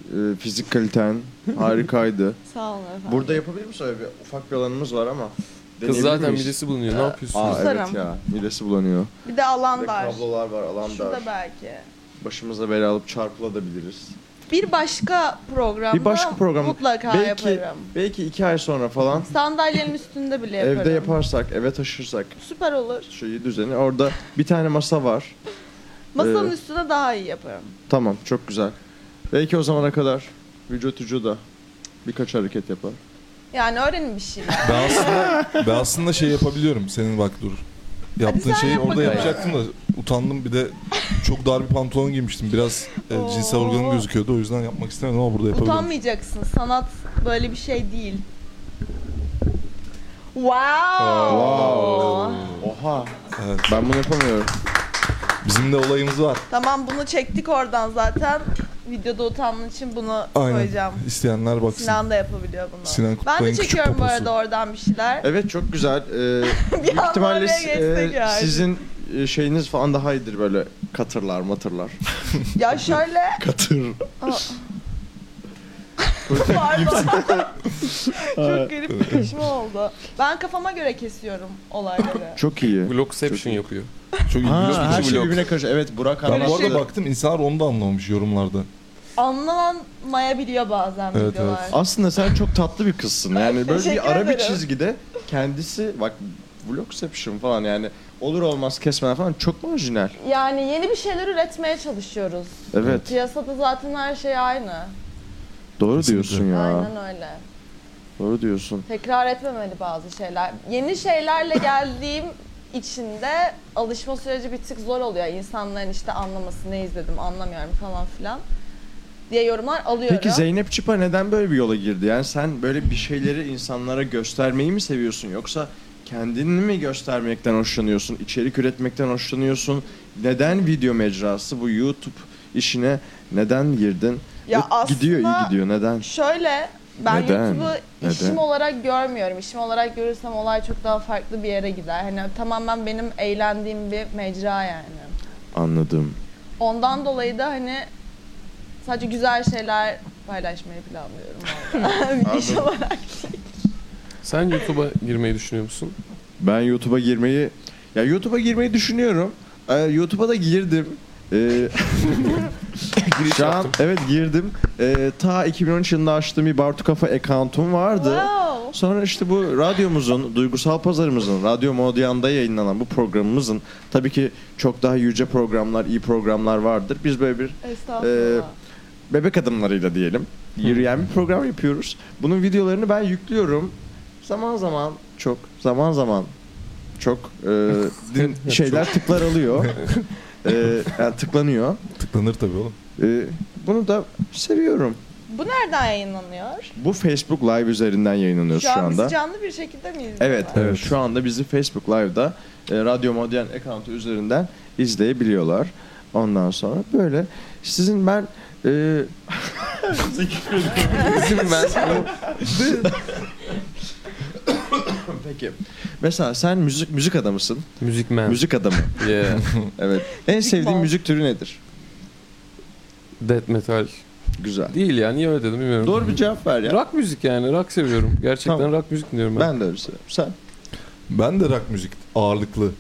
B: e, fizik kaliten harikaydı.
E: Sağ olun efendim.
B: (laughs) Burada yapabilir misin öyle bir ufak bir alanımız var ama.
D: Kız zaten
B: deneyebilir miyiz?
D: midesi bulunuyor. Ne yapıyorsunuz?
B: Aa evet
E: Sarım.
B: ya. Midesi bulanıyor.
E: bir de alan
B: Ve
E: dar.
B: kablolar var, alan
E: Şurada
B: dar.
E: belki.
B: Başımıza bela alıp çarpılabiliriz.
E: Bir başka programda
B: Bir başka program.
E: mutlaka
B: belki,
E: yaparım.
B: Belki iki ay sonra falan
E: Sandalyenin üstünde bile yaparım.
B: evde yaparsak, eve taşırsak
E: Süper olur.
B: şeyi düzeni. Orada bir tane masa var.
E: Masanın
B: Ee,
E: üstüne daha iyi yaparım.
B: Tamam, çok güzel. Belki o zamana kadar vücut ucu da birkaç hareket yapar.
E: Yani öğrenin bir şey. şeyler.
C: ben aslında ben aslında şey yapabiliyorum. Senin bak dur. Yaptığın
E: sen
C: şeyi
E: yap
C: orada
E: bakalım.
C: yapacaktım da utandım bir de çok dar bir pantolon giymiştim. Biraz e, cinsel
E: Oo.
C: organım gözüküyordu. O yüzden yapmak istemedim ama burada yapabilirim.
E: Utanmayacaksın. Sanat böyle bir şey değil. Wow.
B: Oha!
C: Evet.
B: Ben bunu yapamıyorum.
C: Bizim de olayımız var.
E: Tamam bunu çektik oradan zaten. Videoda utandığın için bunu
C: Aynen.
E: koyacağım.
C: İsteyenler baksın.
E: Sinan da yapabiliyor bunu.
C: Sinan
E: ben
C: Kutbay'ın
E: de
C: küçük
E: çekiyorum bu
C: poposu.
E: arada oradan bir (laughs) şeyler.
B: Evet, çok güzel.
C: (laughs)
B: Ee, büyük
E: anda
B: ihtimalle
E: oraya geçtik
B: e,
E: yani.
B: sizin e, şeyiniz falan daha iyidir böyle katırlar, matırlar.
E: Ya şöyle
B: (laughs) Katır.
E: pardon.
B: (laughs)
E: Çok garip bir konuşma oldu. Ben kafama göre kesiyorum olayları.
B: Çok iyi.
D: Blockception yapıyor.
C: Çok iyi.
B: Ha,
D: Blok
B: her
D: içi
B: şey
D: blok.
B: birbirine karışıyor. Evet Burak
C: Ben bu
B: anlattı.
E: şey-
C: arada baktım insanlar onu da anlamamış yorumlarda.
E: Anlamayabiliyor bazen
C: Evet,
E: videolar.
C: evet.
B: Aslında sen çok tatlı bir kızsın. Yani böyle
E: Teşekkür
B: bir ara bir
E: ederim.
B: çizgide kendisi bak vlogception falan yani olur olmaz kesmeler falan çok marjinal.
E: Yani yeni bir şeyler üretmeye çalışıyoruz.
B: Evet.
E: Piyasada zaten her şey aynı.
B: Doğru
C: Kesinlikle.
B: diyorsun ya.
E: Aynen öyle.
B: Doğru diyorsun.
E: Tekrar etmemeli bazı şeyler. Yeni şeylerle geldiğim için de alışma süreci bir tık zor oluyor. İnsanların işte anlaması ne izledim anlamıyorum falan filan diye yorumlar alıyorum.
B: Peki Zeynep Çipa neden böyle bir yola girdi? Yani sen böyle bir şeyleri insanlara göstermeyi mi seviyorsun yoksa kendini mi göstermekten hoşlanıyorsun? içerik üretmekten hoşlanıyorsun? Neden video mecrası bu YouTube işine neden girdin?
E: Ya
B: Ve gidiyor iyi
E: aslında-
B: gidiyor neden?
E: Şöyle ben
B: Neden?
E: YouTube'u
B: Neden?
E: işim olarak görmüyorum. İşim olarak görürsem olay çok daha farklı bir yere gider. Hani tamamen benim eğlendiğim bir mecra yani.
B: Anladım.
E: Ondan dolayı da hani sadece güzel şeyler paylaşmayı
B: (laughs)
E: planlıyorum. orada. İş olarak.
D: Sen YouTube'a girmeyi düşünüyor musun?
B: Ben YouTube'a girmeyi ya YouTube'a girmeyi düşünüyorum. Ee, YouTube'a da girdim. Ee,
D: şey
B: şu an evet girdim. Ee, ta 2013 yılında açtığım bir Bartu Kafa account'um vardı.
E: Wow.
B: Sonra işte bu radyomuzun, duygusal pazarımızın, Radyo Modyan'da yayınlanan bu programımızın tabii ki çok daha yüce programlar, iyi programlar vardır. Biz böyle bir
E: Estağfurullah.
B: Ee, bebek adımlarıyla diyelim yürüyen bir program yapıyoruz. Bunun videolarını ben yüklüyorum. Zaman zaman çok, zaman zaman çok e, din- şeyler tıklar alıyor. E, yani tıklanıyor.
C: Tıklanır tabii oğlum.
B: E, bunu da seviyorum.
E: Bu nereden yayınlanıyor?
B: Bu Facebook Live üzerinden yayınlanıyor şu,
E: Şu an
B: anda.
E: bizi canlı bir şekilde mi izliyorlar?
B: Evet, evet. Şu anda bizi Facebook Live'da e, Radyo Modern account'u üzerinden izleyebiliyorlar. Ondan sonra böyle sizin ben e, (laughs)
D: Bizim ben
B: Peki. Mesela sen müzik müzik adamısın.
D: Müzik man.
B: Müzik
D: (laughs)
B: adamı.
D: Yeah.
B: Evet. En sevdiğin
E: mal.
B: müzik türü nedir?
D: Death metal.
B: Güzel.
D: Değil ya niye öyle dedim bilmiyorum.
B: Doğru bir cevap ver ya.
D: Rock müzik yani. Rock seviyorum. Gerçekten
B: Tamam.
D: rock müzik dinliyorum ben.
B: Ben de öyle seviyorum. Sen?
C: Ben de rock müzik ağırlıklı.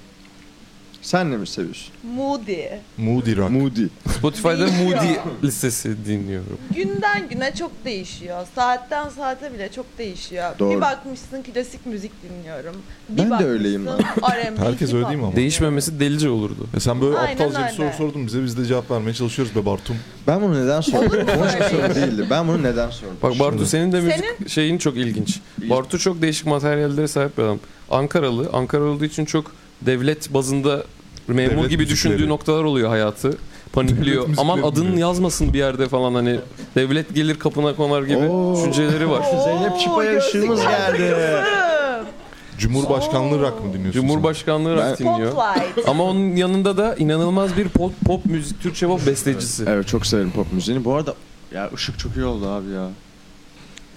B: Sen ne mi seviyorsun?
E: Moody.
C: Moody rock.
B: Moody.
D: Spotify'da
E: Değişiyor.
D: Moody listesi dinliyorum.
E: Günden güne çok değişiyor. Ssaatten saate bile çok değişiyor.
B: Doğru.
E: Bir bakmışsın klasik müzik dinliyorum. Bir
B: Ben de
E: bakmışsın
B: öyleyim ben. (laughs)
E: R&B,
C: Herkes
E: bir
C: öyle değil mi ama?
D: Değişmemesi delice olurdu.
C: Ya sen böyle
E: Aynen
C: aptalca bir
E: öyle.
C: soru sordun bize biz de cevap vermeye çalışıyoruz be Bartum.
B: Ben bunu neden
E: Olur
B: sordum?
E: mu
B: Onun için
E: böyle
B: soru değildi. Ben bunu neden sordum?
D: Bak Bartu
C: Şimdi-
D: senin de müzik
E: Senin-
D: şeyin çok ilginç.
B: İyi.
D: Bartu çok değişik materyallere sahip bir adam. Ankaralı. Ankara olduğu için çok devlet bazında memur
C: Devlet
D: gibi
C: müzikleri.
D: düşündüğü noktalar oluyor hayatı. Panikliyor.
C: Devlet
D: Aman
C: müzikleri
D: adın
C: dinliyor.
D: yazmasın bir yerde falan hani. Devlet gelir kapına konar gibi
B: Oo.
D: düşünceleri var.
E: Oo,
B: Zeynep Çipa'ya ışığımız geldi.
E: bakmışsın.
C: Cumhurbaşkanlığı rock mı dinliyorsun? sen?
D: Cumhurbaşkanlığı rock
B: Ben-
D: dinliyor.
E: Spotlight.
D: Ama onun yanında da inanılmaz bir pop, pop müzik, Türkçe pop bestecisi.
B: Evet çok severim pop müziğini. Bu arada ya ışık çok iyi oldu abi ya.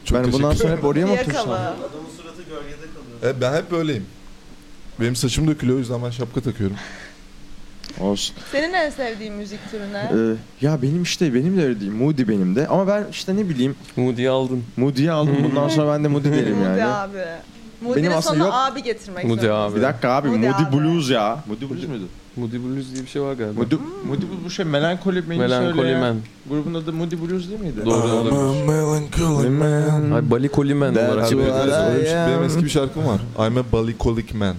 C: Çok
B: ben bundan
C: teşekkür
B: sonra hep
C: ederim.
B: oraya mı
E: Yakalı.
B: otursam?
C: E, ben hep böyleyim. Benim saçım dökülüyor o yüzden ben şapka takıyorum.
B: Olsun.
E: Senin en sevdiğin müzik türü ne?
B: Ee, ya benim işte benim de öyle değil. Moody benim de. Ama ben işte ne bileyim
D: Moody'yi aldın.
B: Moody'yi aldım. Bundan sonra ben de Moody derim
E: Moody
B: yani.
E: abi. Moody'nin
B: aslında
E: sonuna
B: yok-
E: abi getirmek
D: Moody
E: zorundasın.
D: abi.
B: Bir dakika abi
E: Moody
B: Moody,
E: abi.
B: Blues ya. Moody Blues muydu?
D: Moody Blues diye bir şey var galiba.
B: Moody,
E: Hmm.
B: Moody Blues bu şey melankoli beni
D: Melankoli
B: söyleyen
D: Man.
B: Grubun adı Moody Blues değil miydi?
D: Doğru olabilir.
C: melancholic man.
D: Ay Balikoli Man
B: That
D: olarak.
B: you
D: bir-
B: are-
C: Öyle bir şey-
B: I am-
C: Benim eski bir şarkım var. I'm a balikolic man.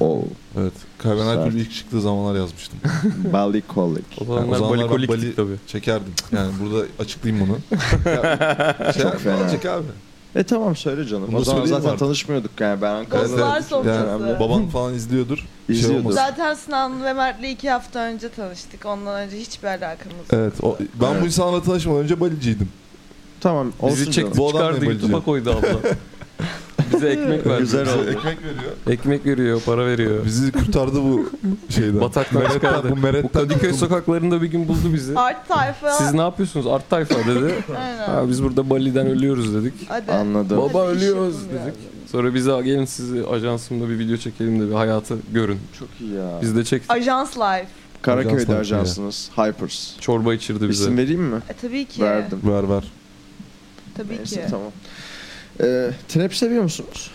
B: Oh,
C: Evet. Kayben
B: Güzel.
C: Alkül ilk çıktığı zamanlar yazmıştım.
B: Balikolik.
D: O
C: Yani o
D: zamanlar
C: zamanlar ben
D: balikoliktik
C: Bali-
D: tabii.
C: Çekerdim. Yani burada
B: (laughs)
C: açıklayayım bunu.
B: Çok fena.
C: Çek abi.
B: E tamam söyle canım.
C: Bunu
B: O zaman
C: söyleyeyim
B: zaten
C: artık.
B: tanışmıyorduk yani ben Ankara'da.
E: Dostlar
C: Evet,
E: sofrası.
B: yani
C: Baban falan izliyordur. Şey
B: İzliyordur.
C: olmasın.
E: Zaten Sinan ve Mert'le iki hafta önce tanıştık. Ondan önce hiçbir alakamız yok.
C: Evet. o- ben bu insanla tanışmadan önce baliciydim.
B: Tamam olsun
D: Bizi çekti
B: canım.
C: Bu adam
D: çıkardı
C: ne
D: YouTube'a
C: balıcı?
D: koydu abla. Bize ekmek verdi.
B: Güzel
E: (laughs)
B: oldu.
C: Ee, Ekmek veriyor.
D: Ekmek veriyor, para veriyor.
C: Bizi kurtardı bu şeyden.
D: Bataktan
C: Meretten-
D: çıkardı.
C: Bu meretten
D: Bu Kadıköy
C: kurtulduk.
D: sokaklarında bir gün buldu bizi.
E: Art tayfa.
D: Siz ne yapıyorsunuz? Art tayfa dedi.
E: Aynen.
D: Ha, biz burada Bali'den ölüyoruz dedik.
E: Hadi.
B: Anladım.
D: Baba
E: Hadi iş
D: ölüyoruz
E: yapın
D: dedik. Sonra bize gelin sizi ajansımda bir video çekelim de bir hayatı görün.
B: Çok iyi ya.
D: Biz de çektik.
E: Ajans Life.
B: Karaköy'de
C: Ajanslar
B: ajansınız. Hypers.
D: Çorba içirdi bize.
B: İsim vereyim mi?
E: E, tabii ki.
B: Verdim.
C: Ver ver.
E: Tabii
B: Neyse
E: ki.
B: tamam. Ee, trap seviyor musunuz?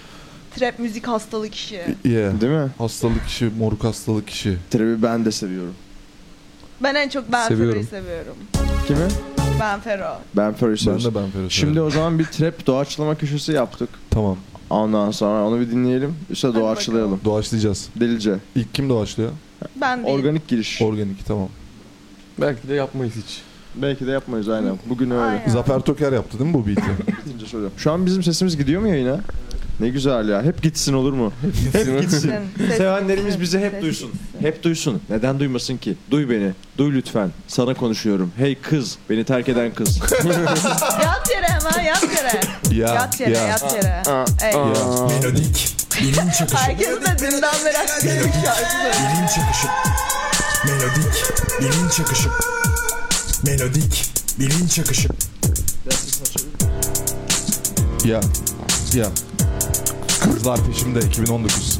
E: Trap müzik hastalık işi.
C: Yeah.
B: Değil mi?
C: Hastalık işi, moruk hastalık işi.
B: Trap'i ben de seviyorum.
E: Ben en çok Ben
D: Seviyorum.
E: Fero'yu seviyorum.
B: Kimi?
E: Ben Fero.
B: Ben Furry
C: Ben
B: seviyorum.
C: de ben Ferhat.
B: Şimdi o zaman bir trap doğaçlama köşesi yaptık.
C: Tamam.
B: Ondan sonra onu bir dinleyelim. Üstüne
E: Hadi
B: doğaçlayalım.
C: Doğaçlayacağız.
B: Delice.
C: İlk kim doğaçlıyor?
E: Ben değil.
B: Organik giriş.
C: Organik tamam.
D: Belki de yapmayız hiç.
B: Belki de yapmayız aynen. Bugün öyle.
E: Aynen.
C: Zafer Toker yaptı değil mi bu beat'i?
E: (laughs)
B: Bitince söylüyorum. Şu an bizim sesimiz gidiyor mu yayına? Ne güzel ya. Hep gitsin olur mu? Hep gitsin.
E: Ses-
B: Sevenlerimiz bizi hep
E: ses-
B: duysun. Hep duysun. Neden duymasın ki? Duy beni. Duy lütfen. Sana konuşuyorum. Hey kız. Beni terk eden kız.
E: Yat yere hemen yat yere.
C: ya,
E: Yat yere
C: ya.
E: yat yere. Ey.
D: Aa,
A: Melodik. Bilim çıkışı.
E: Herkes de dünden beri aklımda bir şarkı.
A: Bilim çıkışı. Melodik. Bilim çıkışı. Melodik. Bilim çıkışı.
C: Ya. Ya. Kızlar peşimde 2019.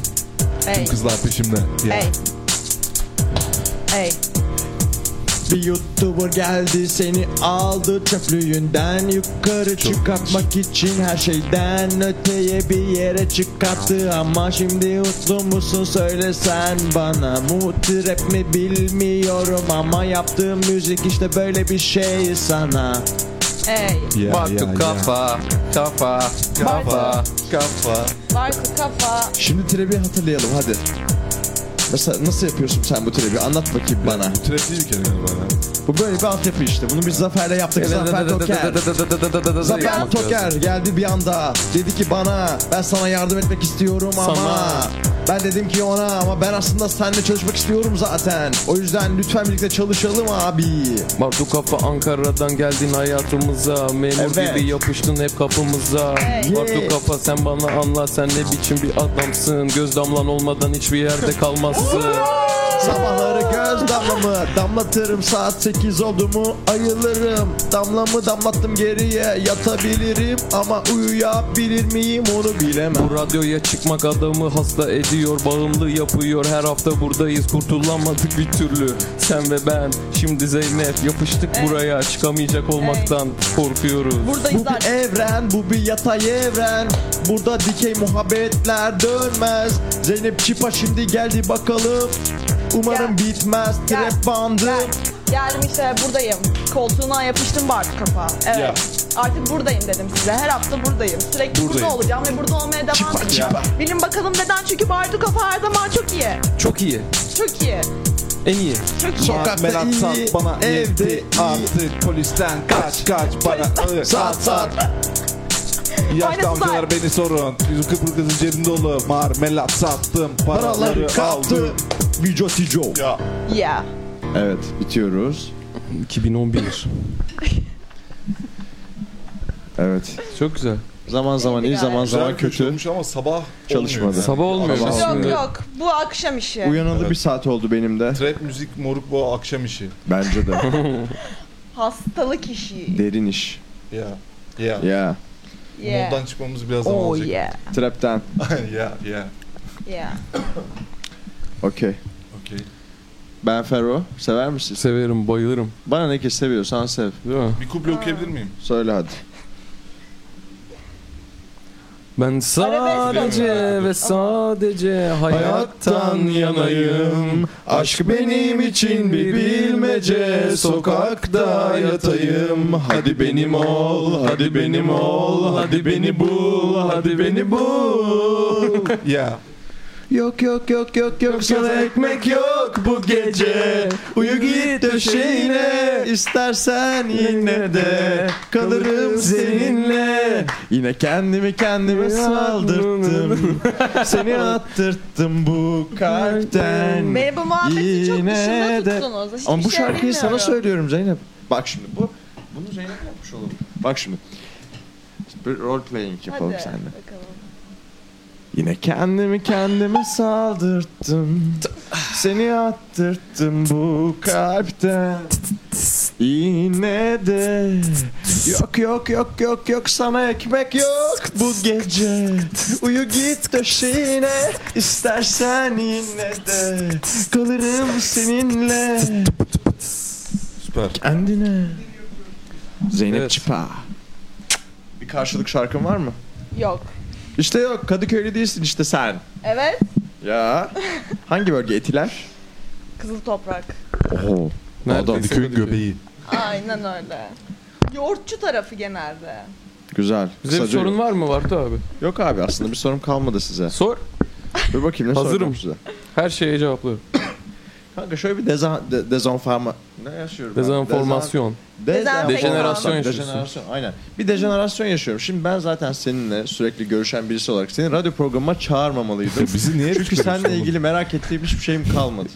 E: Ey.
C: Kızlar peşimde.
E: (laughs)
C: Ya.
E: Ey. Ey.
B: Bir youtuber geldi seni aldı çöplüğünden Yukarı çıkartmak için her şeyden Öteye bir yere çıkarttı ama şimdi mutlu musun söylesen bana Mutlu rap mi bilmiyorum ama yaptığım müzik işte böyle bir şey sana
E: Ey.
C: Ya, ya, ya.
D: kafa, kafa, kafa.
E: Bartu kafa.
B: Şimdi trebi hatırlayalım hadi Mesela nasıl yapıyorsun sen bu trebi anlat bakayım bana
C: Bu trap değil bir kere galiba ya.
B: Bu böyle bir altyapı işte bunu biz Zafer'le yaptık Zafer Toker Zafer Toker geldi bir anda dedi ki bana ben sana yardım etmek istiyorum ama
D: Sana.
B: ben dedim ki ona ama ben aslında seninle çalışmak istiyorum zaten. O yüzden lütfen birlikte çalışalım abi.
D: Bartu kafa Ankara'dan geldin hayatımıza Memur
B: Evet.
D: gibi yapıştın hep kapımıza
E: Hey.
D: Bartu
B: Yeah.
D: kafa sen bana anla sen ne biçim bir adamsın Göz damlan olmadan hiçbir yerde kalmazsın
B: Sabahları göz damlamı damlatırım saat 8 oldu mu ayılırım Damlamı damlattım geriye yatabilirim ama uyuyabilir miyim onu bilemem
D: Bu radyoya çıkmak adamı hasta ediyor Bağımlı yapıyor her hafta buradayız Kurtulamadık bir türlü sen ve ben Şimdi Zeynep yapıştık buraya Çıkamayacak olmaktan korkuyoruz
E: Buradayız
B: Bu
E: artık.
B: bir evren, bu bir yatay evren Burada dikey muhabbetler dönmez Zeynep Çipa şimdi geldi bakalım Umarım bitmez
E: Gel.
B: trap bandı
E: Gel. Geldim işte buradayım. Koltuğuna yapıştım Bart kafa. Evet.
D: Ya.
E: Artık buradayım dedim size. Her hafta buradayım. Sürekli burada
D: Buradayım.
E: olacağım ve burada olmaya devam
B: Çıpa
E: edeceğim.
B: çıpa.
E: Bilin bakalım neden? Çünkü Bartu kafa her zaman çok iyi.
D: Çok iyi
E: Çok iyi.
D: en iyi
E: Çok iyi.
B: Sokakta iyi, evde iyi
C: artık polisten kaç kaç bana
B: Saat saat
C: Yaşlı
E: Faydası
C: amcalar
E: var.
C: beni sorun Yüzü kıpır kızın cebim dolu Marmelat sattım
B: paraları
C: Paraları
B: kaptı
C: aldım
B: Video Tijo
C: Ya
E: Yeah.
B: Evet bitiyoruz
D: 2011
B: Evet
D: Çok güzel
B: Zaman zaman iyi zaman zaman
C: Güzel kötü
B: kötü
C: olmuş ama sabah
B: Çalışmadı.
C: olmuyor yani.
D: Sabah olmuyor
B: Sabah
D: biz
B: olmuyor.
E: Yok
D: şimdi
E: yok. Bu akşam işi.
B: Uyanalı
C: Evet.
B: bir saat oldu benim de
C: Trap müzik moruk bu akşam işi
B: Bence de (laughs)
E: Hastalık işi.
B: derin iş
C: Ya Ya
B: Ya
E: Yeah.
C: Moddan çıkmamız biraz zaman
E: Oh
C: olacak (laughs)
E: yeah.
B: Trap'ten
C: Ya ya
E: Yeah.
B: Okey
C: Okey
B: Ben Ferro sever misin?
D: Severim bayılırım
B: Bana ne ki seviyorsan sev
D: değil mi?
C: Bir kuple okuyabilir (laughs) miyim?
B: Söyle hadi
D: Ben sadece ve sadece hayattan yanayım
B: Aşk
D: benim için bir bilmece, sokakta yatayım.
B: Hadi
D: benim ol, hadi benim ol, hadi beni bul, hadi beni bul.
C: Ya
B: Yok yok yok yok yok sana ekmek yok bu gece Uyu git döşeğine istersen yine de Kalırım seninle Yine kendimi kendime (laughs) saldırttım Seni attırttım bu kalpten
E: Beni bu muhabbeti çok
B: Yine
E: dışında
B: de-
E: tuttunuz. Hiçbir
B: Ama bu
E: şey
B: şarkıyı sana
E: bilmiyorum.
B: söylüyorum Zeynep Bak şimdi bu Bunu Zeynep yapmış olur Bak şimdi bir role playing yapalım
E: Hadi
B: seninle.
E: bakalım.
B: Yine kendimi kendime saldırttım Seni attırttım bu kalpten Yine de Yok yok yok yok yok sana ekmek yok bu gece Uyu git döşeğine istersen yine de Kalırım seninle
C: süper
B: Kendine Zeynep
D: Evet.
B: Çipa Bir karşılık şarkın var mı?
E: Yok.
B: İşte yok Kadıköy'lü değilsin işte sen
E: Evet.
B: ya. Hangi bölge? Etiler?
E: Kızıl toprak.
B: Oho.
D: Neredeyse
C: Köyün
D: Kadıköy.
C: göbeği
E: Aynen öyle. Yoğurtçu tarafı genelde.
B: Güzel.
D: Bize bir
B: Kısaca-
D: sorun var mı Bartu abi?
B: Yok abi aslında bir sorum kalmadı size.
D: Sor.
B: Dur bakayım ne
D: Hazırım.
B: soracağım size.
D: Her şeye cevaplıyorum.
B: Kanka şöyle bir deza, de, dezonforma... Ne yaşıyorum ben?
D: Dezenformasyon.
B: Dezan- dezenformasyon.
E: Dejenerasyon
D: yaşıyorsun.
B: Dejenerasyon aynen. Bir dejenerasyon yaşıyorum. Şimdi ben zaten seninle sürekli görüşen birisi olarak seni radyo programıma
D: (laughs)
B: çağırmamalıydım.
C: Bizi niye
B: Çünkü seninle ilgili merak ettiğim hiçbir şeyim kalmadı.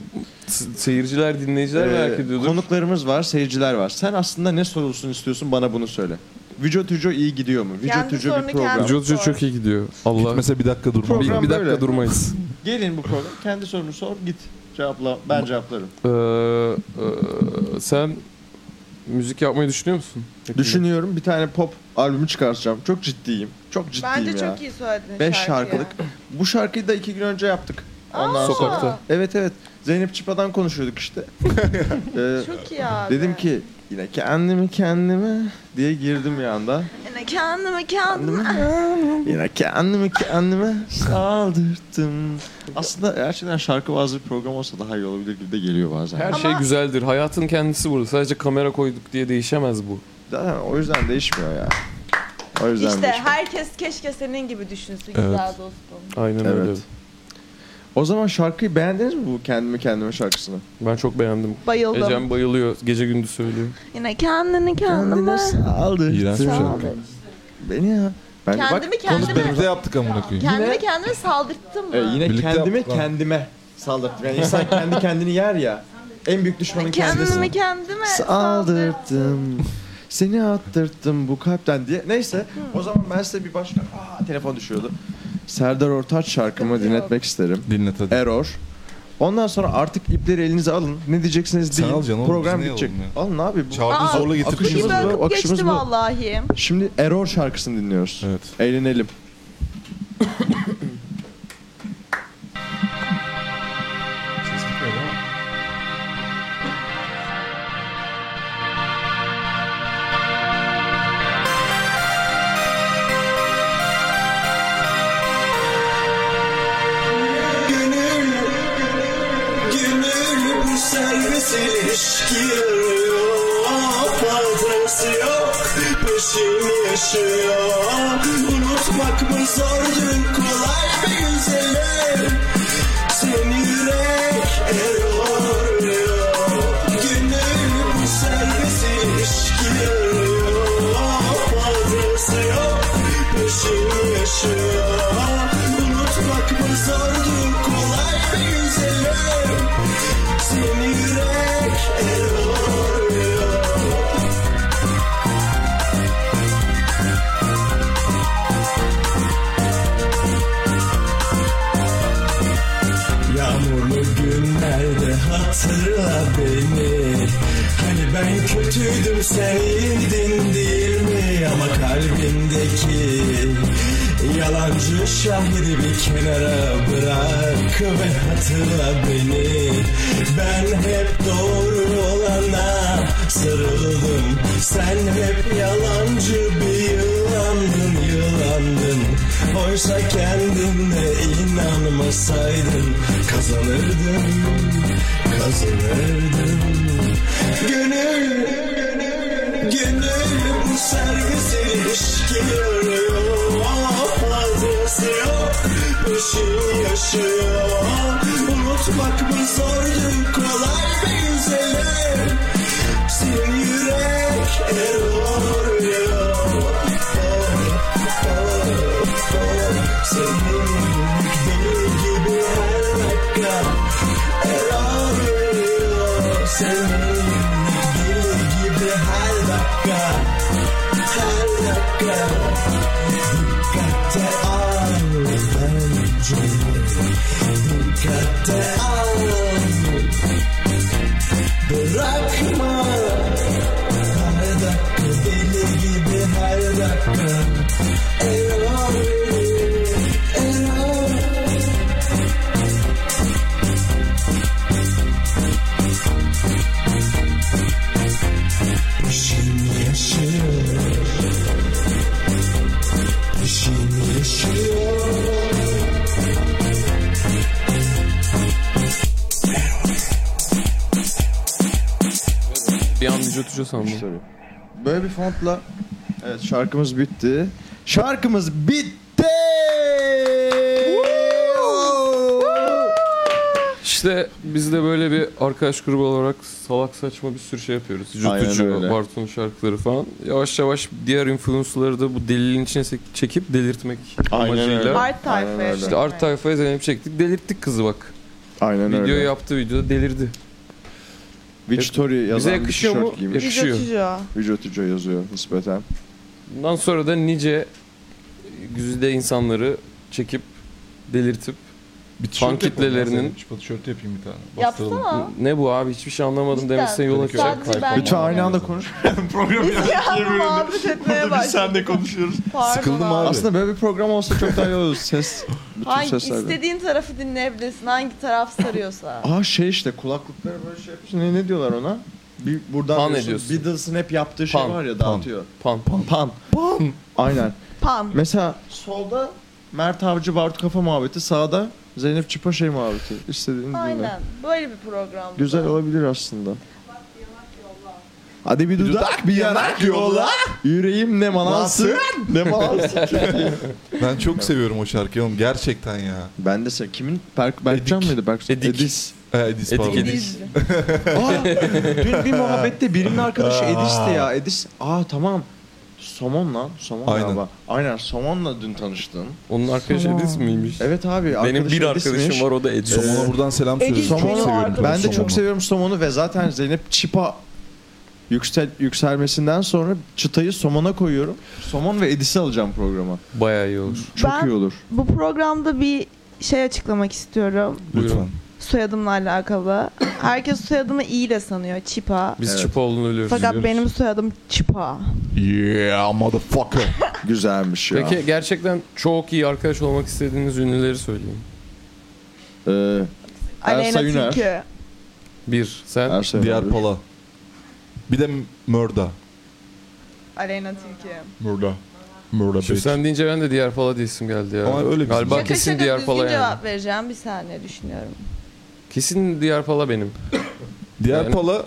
D: S- Seyirciler, dinleyiciler
B: Ee,
D: merak ediyordur.
B: konuklarımız var, seyirciler var. Sen aslında ne sorulsun istiyorsun bana bunu söyle. Vücut Hüco iyi gidiyor mu? Vücut
E: Kendi
B: Hüco
E: sorunu
B: bir program.
E: kendi-
D: Vücutçu çok iyi gidiyor. Allah.
C: Mesela bir dakika durma
D: Bir, bir dakika
B: böyle.
D: durmayız.
B: Gelin bu program. Kendi sorunu sor, git. Cevapla. Ben cevaplarım.
D: Ee, e, sen müzik yapmayı düşünüyor musun? Yakında.
B: Düşünüyorum bir tane pop albümü çıkartacağım. Çok ciddiyim. Çok ciddiyim
E: Bence
B: ya.
E: çok iyi söyledin
B: Beş
E: şarkıyı.
B: şarkılık. Bu şarkıyı da iki gün önce yaptık. Ondan
D: Sokakta.
B: sonra. Evet evet. Zeynep Çipa'dan konuşuyorduk
E: (laughs)
B: işte. Ee,
E: Çok iyi abi.
B: dedim ki yine kendimi kendime diye girdim bir anda.
E: Yine kendime kendime.
B: Yine kendimi kendime saldırttım. Aslında gerçekten şarkı bazı bir program olsa daha iyi olabilir gibi de geliyor bazen.
D: Her şey güzeldir. Hayatın kendisi burada. Sadece kamera koyduk diye değişemez bu.
B: Zaten o yüzden değişmiyor ya. O yüzden
E: İşte
B: değişmiyor.
E: herkes keşke senin gibi düşünsün güzel dostum.
D: Aynen
B: Evet.
D: öyle.
B: O zaman şarkıyı beğendiniz mi bu kendimi kendime şarkısını?
D: Ben çok beğendim.
E: Bayıldım.
D: Ecem bayılıyor. Gece gündüz söylüyor.
E: Yine kendini kendime.
B: Kendine saldırttın.
C: İğrenç bir şarkı.
E: saldır.
B: Beni ya. Ben
E: Kendimi kendime.
C: Konuklarımıza yaptık amına koyayım
E: Kendimi kendime saldırttım mı?
B: E, yine
C: Birlikte
B: kendimi
C: yaptık lan.
B: kendime saldırttım. Yani insan kendi kendini yer ya. En büyük düşmanın
E: kendimi
B: kendisi.
E: kendime saldırttım.
B: Saldırttım. Seni attırttım bu kalpten diye. Neyse o zaman ben size bir başka... Aa, telefon düşüyordu. Serdar Ortaç şarkımı dinletmek isterim.
C: Dinlet hadi
B: Error. Ondan sonra artık ipleri elinize alın. Ne diyeceksiniz
C: Sen
B: deyin.
C: al canım,
B: program
C: biz ne
B: bitecek.
C: alalım
B: Alın abi. bu-
C: Çağrı
E: Aa,
C: zorla
B: akışımız
E: İki
C: getirtmişiz.
B: bu,
E: bölüm
B: akışımız
E: geçti
B: bu.
E: vallahi.
B: Şimdi Error şarkısını dinliyoruz.
C: Evet.
B: Eğlenelim.
C: Ses gitmiyor değil mi?
A: Gönül, gönül bu serbest ilişki arıyor Fazlası yok, peşini yaşıyor Unutmak mı zor, dün kolay mı güzelim Seni yürek eror Gönül bu serbest ilişki arıyor Fazlası yok, peşini yaşıyor Unutmak mı zor, dün kolay mı güzelim Seni yürek eror Yağmurlu günlerde hatırla beni Hani ben kötüydüm sen iyiydin değil mi Ama kalbimdeki yalancı şahidi bir kenara bırak Ve hatırla beni Ben hep doğru olana sarıldım Sen hep yalancı bir yılandın yılandın Oysa kendine inanmasaydın Kazanırdın, kazanırdın Gönül, gönül bu servis ilişki arıyor Fazlası yok, ışığı yaşıyor Unutmak mı zordu, kolay mı güzelim Senin yürek eror ya Bırakma Her dakika deli gibi her dakika Error Error Peşini yaşıyor Peşini yaşıyor
D: Bir an Müjdat Hoca sandım.
B: Sorry. Böyle bir fontla. Evet şarkımız bitti. Şarkımız bitti.
D: İşte biz de böyle bir arkadaş grubu olarak salak saçma bir sürü şey yapıyoruz.
B: Aynen
D: Jutucu,
B: öyle.
D: Barton şarkıları falan. Yavaş yavaş diğer influencer'ları da bu deliliğin içine sek- çekip delirtmek
B: Aynen öyle.
D: amacıyla.
E: Art tayfaya.
B: öyle.
D: İşte art tayfaya zeynep çektik. Delirttik kızı bak.
B: Aynen
D: Video
B: öyle.
D: yaptı videoda delirdi.
B: Witch Tory yazan bir
D: yakışıyor mu?
B: tişört giymiş.
D: Yakışıyor.
E: Vücutçu.
B: Witch Tory yazıyor nispeten.
D: Bundan sonra da nice güzide insanları çekip delirtip
C: Bir tişört
D: Fan
C: yapalım ya
D: kitlelerinin-
C: senin. Şu tişörtü yapayım bir tane. Bastıralım.
E: Yapsana.
D: ne bu abi hiçbir şey anlamadım
E: Cidden.
D: demesine yol
C: Tabii ki.
D: açacak.
E: Sadece ben-
B: Lütfen aynı anda konuş.
E: Biz yani muhabbet etmeye başladık.
B: konuşuyoruz.
E: Pardon
C: Sıkıldım abi.
B: Aslında böyle bir program olsa çok daha iyi olur. Ses, bütün
E: Hangi
B: sesler. böyle.
E: istediğin tarafı dinleyebilirsin. Hangi taraf sarıyorsa.
B: Aa şey işte kulaklıkları böyle şey yapıyorsun. Ne, ne diyorlar ona? Bir buradan
D: Pan
B: diyorsun,
D: ediyorsun.
B: Beatles'ın hep yaptığı şey
D: Pan,
B: var ya
C: pan.
B: dağıtıyor.
D: Pan.
B: Pan. Pan. Aynen.
E: Pan.
B: Mesela solda Mert Avcı Bartu Kafa muhabbeti, sağda Zeynep Çıpa şey muhabbeti. İstediğini dinle.
E: Aynen. Böyle bir program. bu
B: Güzel
E: da.
B: olabilir aslında. Hadi bir dudak bir yanak yolla. Yüreğim ne manansın. ne manansın.
C: Ben çok seviyorum o şarkıyı oğlum gerçekten ya.
B: (laughs) ben de sen kimin? Berk, Berkcan mıydı? Berk,
D: Edik.
B: (laughs) Edis.
C: Ee, Edis
D: Edik,
C: pardon.
D: edik.
E: Biz-
B: Aa, dün bir muhabbette birinin arkadaşı Edis'ti ya. Edis. Aa tamam. Somon lan. Somon
C: Aynen.
B: galiba. Aynen. Somon'la dün tanıştın.
D: Onun arkadaşı Edis miymiş?
B: Evet abi.
D: Benim bir arkadaşım Ee, var o da Edis.
C: Somon'a buradan selam
E: Edis
C: söylüyorum. Çok
B: benim
C: seviyorum.
E: arkadaşım.
B: Ben de
C: Somon'u.
B: çok seviyorum Somon'u ve zaten Zeynep Çipa yüksel, yükselmesinden sonra çıtayı Somon'a koyuyorum. Somon ve Edis'i alacağım programa.
D: Bayağı iyi olur.
B: Çok
E: Ben-
B: iyi olur.
E: Bu programda bir şey açıklamak istiyorum.
D: Buyurun.
C: Lütfen.
E: soyadımla alakalı. Herkes soyadımı iyi de sanıyor. Çipa.
D: Biz
B: Evet.
D: çıpa olduğunu ölüyoruz.
E: Fakat
D: biliyoruz.
E: benim soyadım Çipa.
C: Yeah motherfucker.
B: Güzelmiş ya.
D: Peki gerçekten çok iyi arkadaş olmak istediğiniz ünlüleri söyleyin.
B: Ee,
E: Aleyna
B: Üner.
E: Tilki.
D: Bir, sen.
B: Ersoy
C: Diğer
B: abi.
C: pala. Bir de Murda.
E: Aleyna Tilki.
C: Murda. Murda
D: Şimdi
C: bitch.
D: sen deyince ben de diğer pala diyesim geldi ya.
C: Ama öyle bir-
D: Galiba
C: Şaka
D: kesin diğer
E: düzgün
D: pala yani.
E: cevap vereceğim bir saniye düşünüyorum.
D: Kesin diğer pala benim.
C: Diğer
D: Yani-
C: pala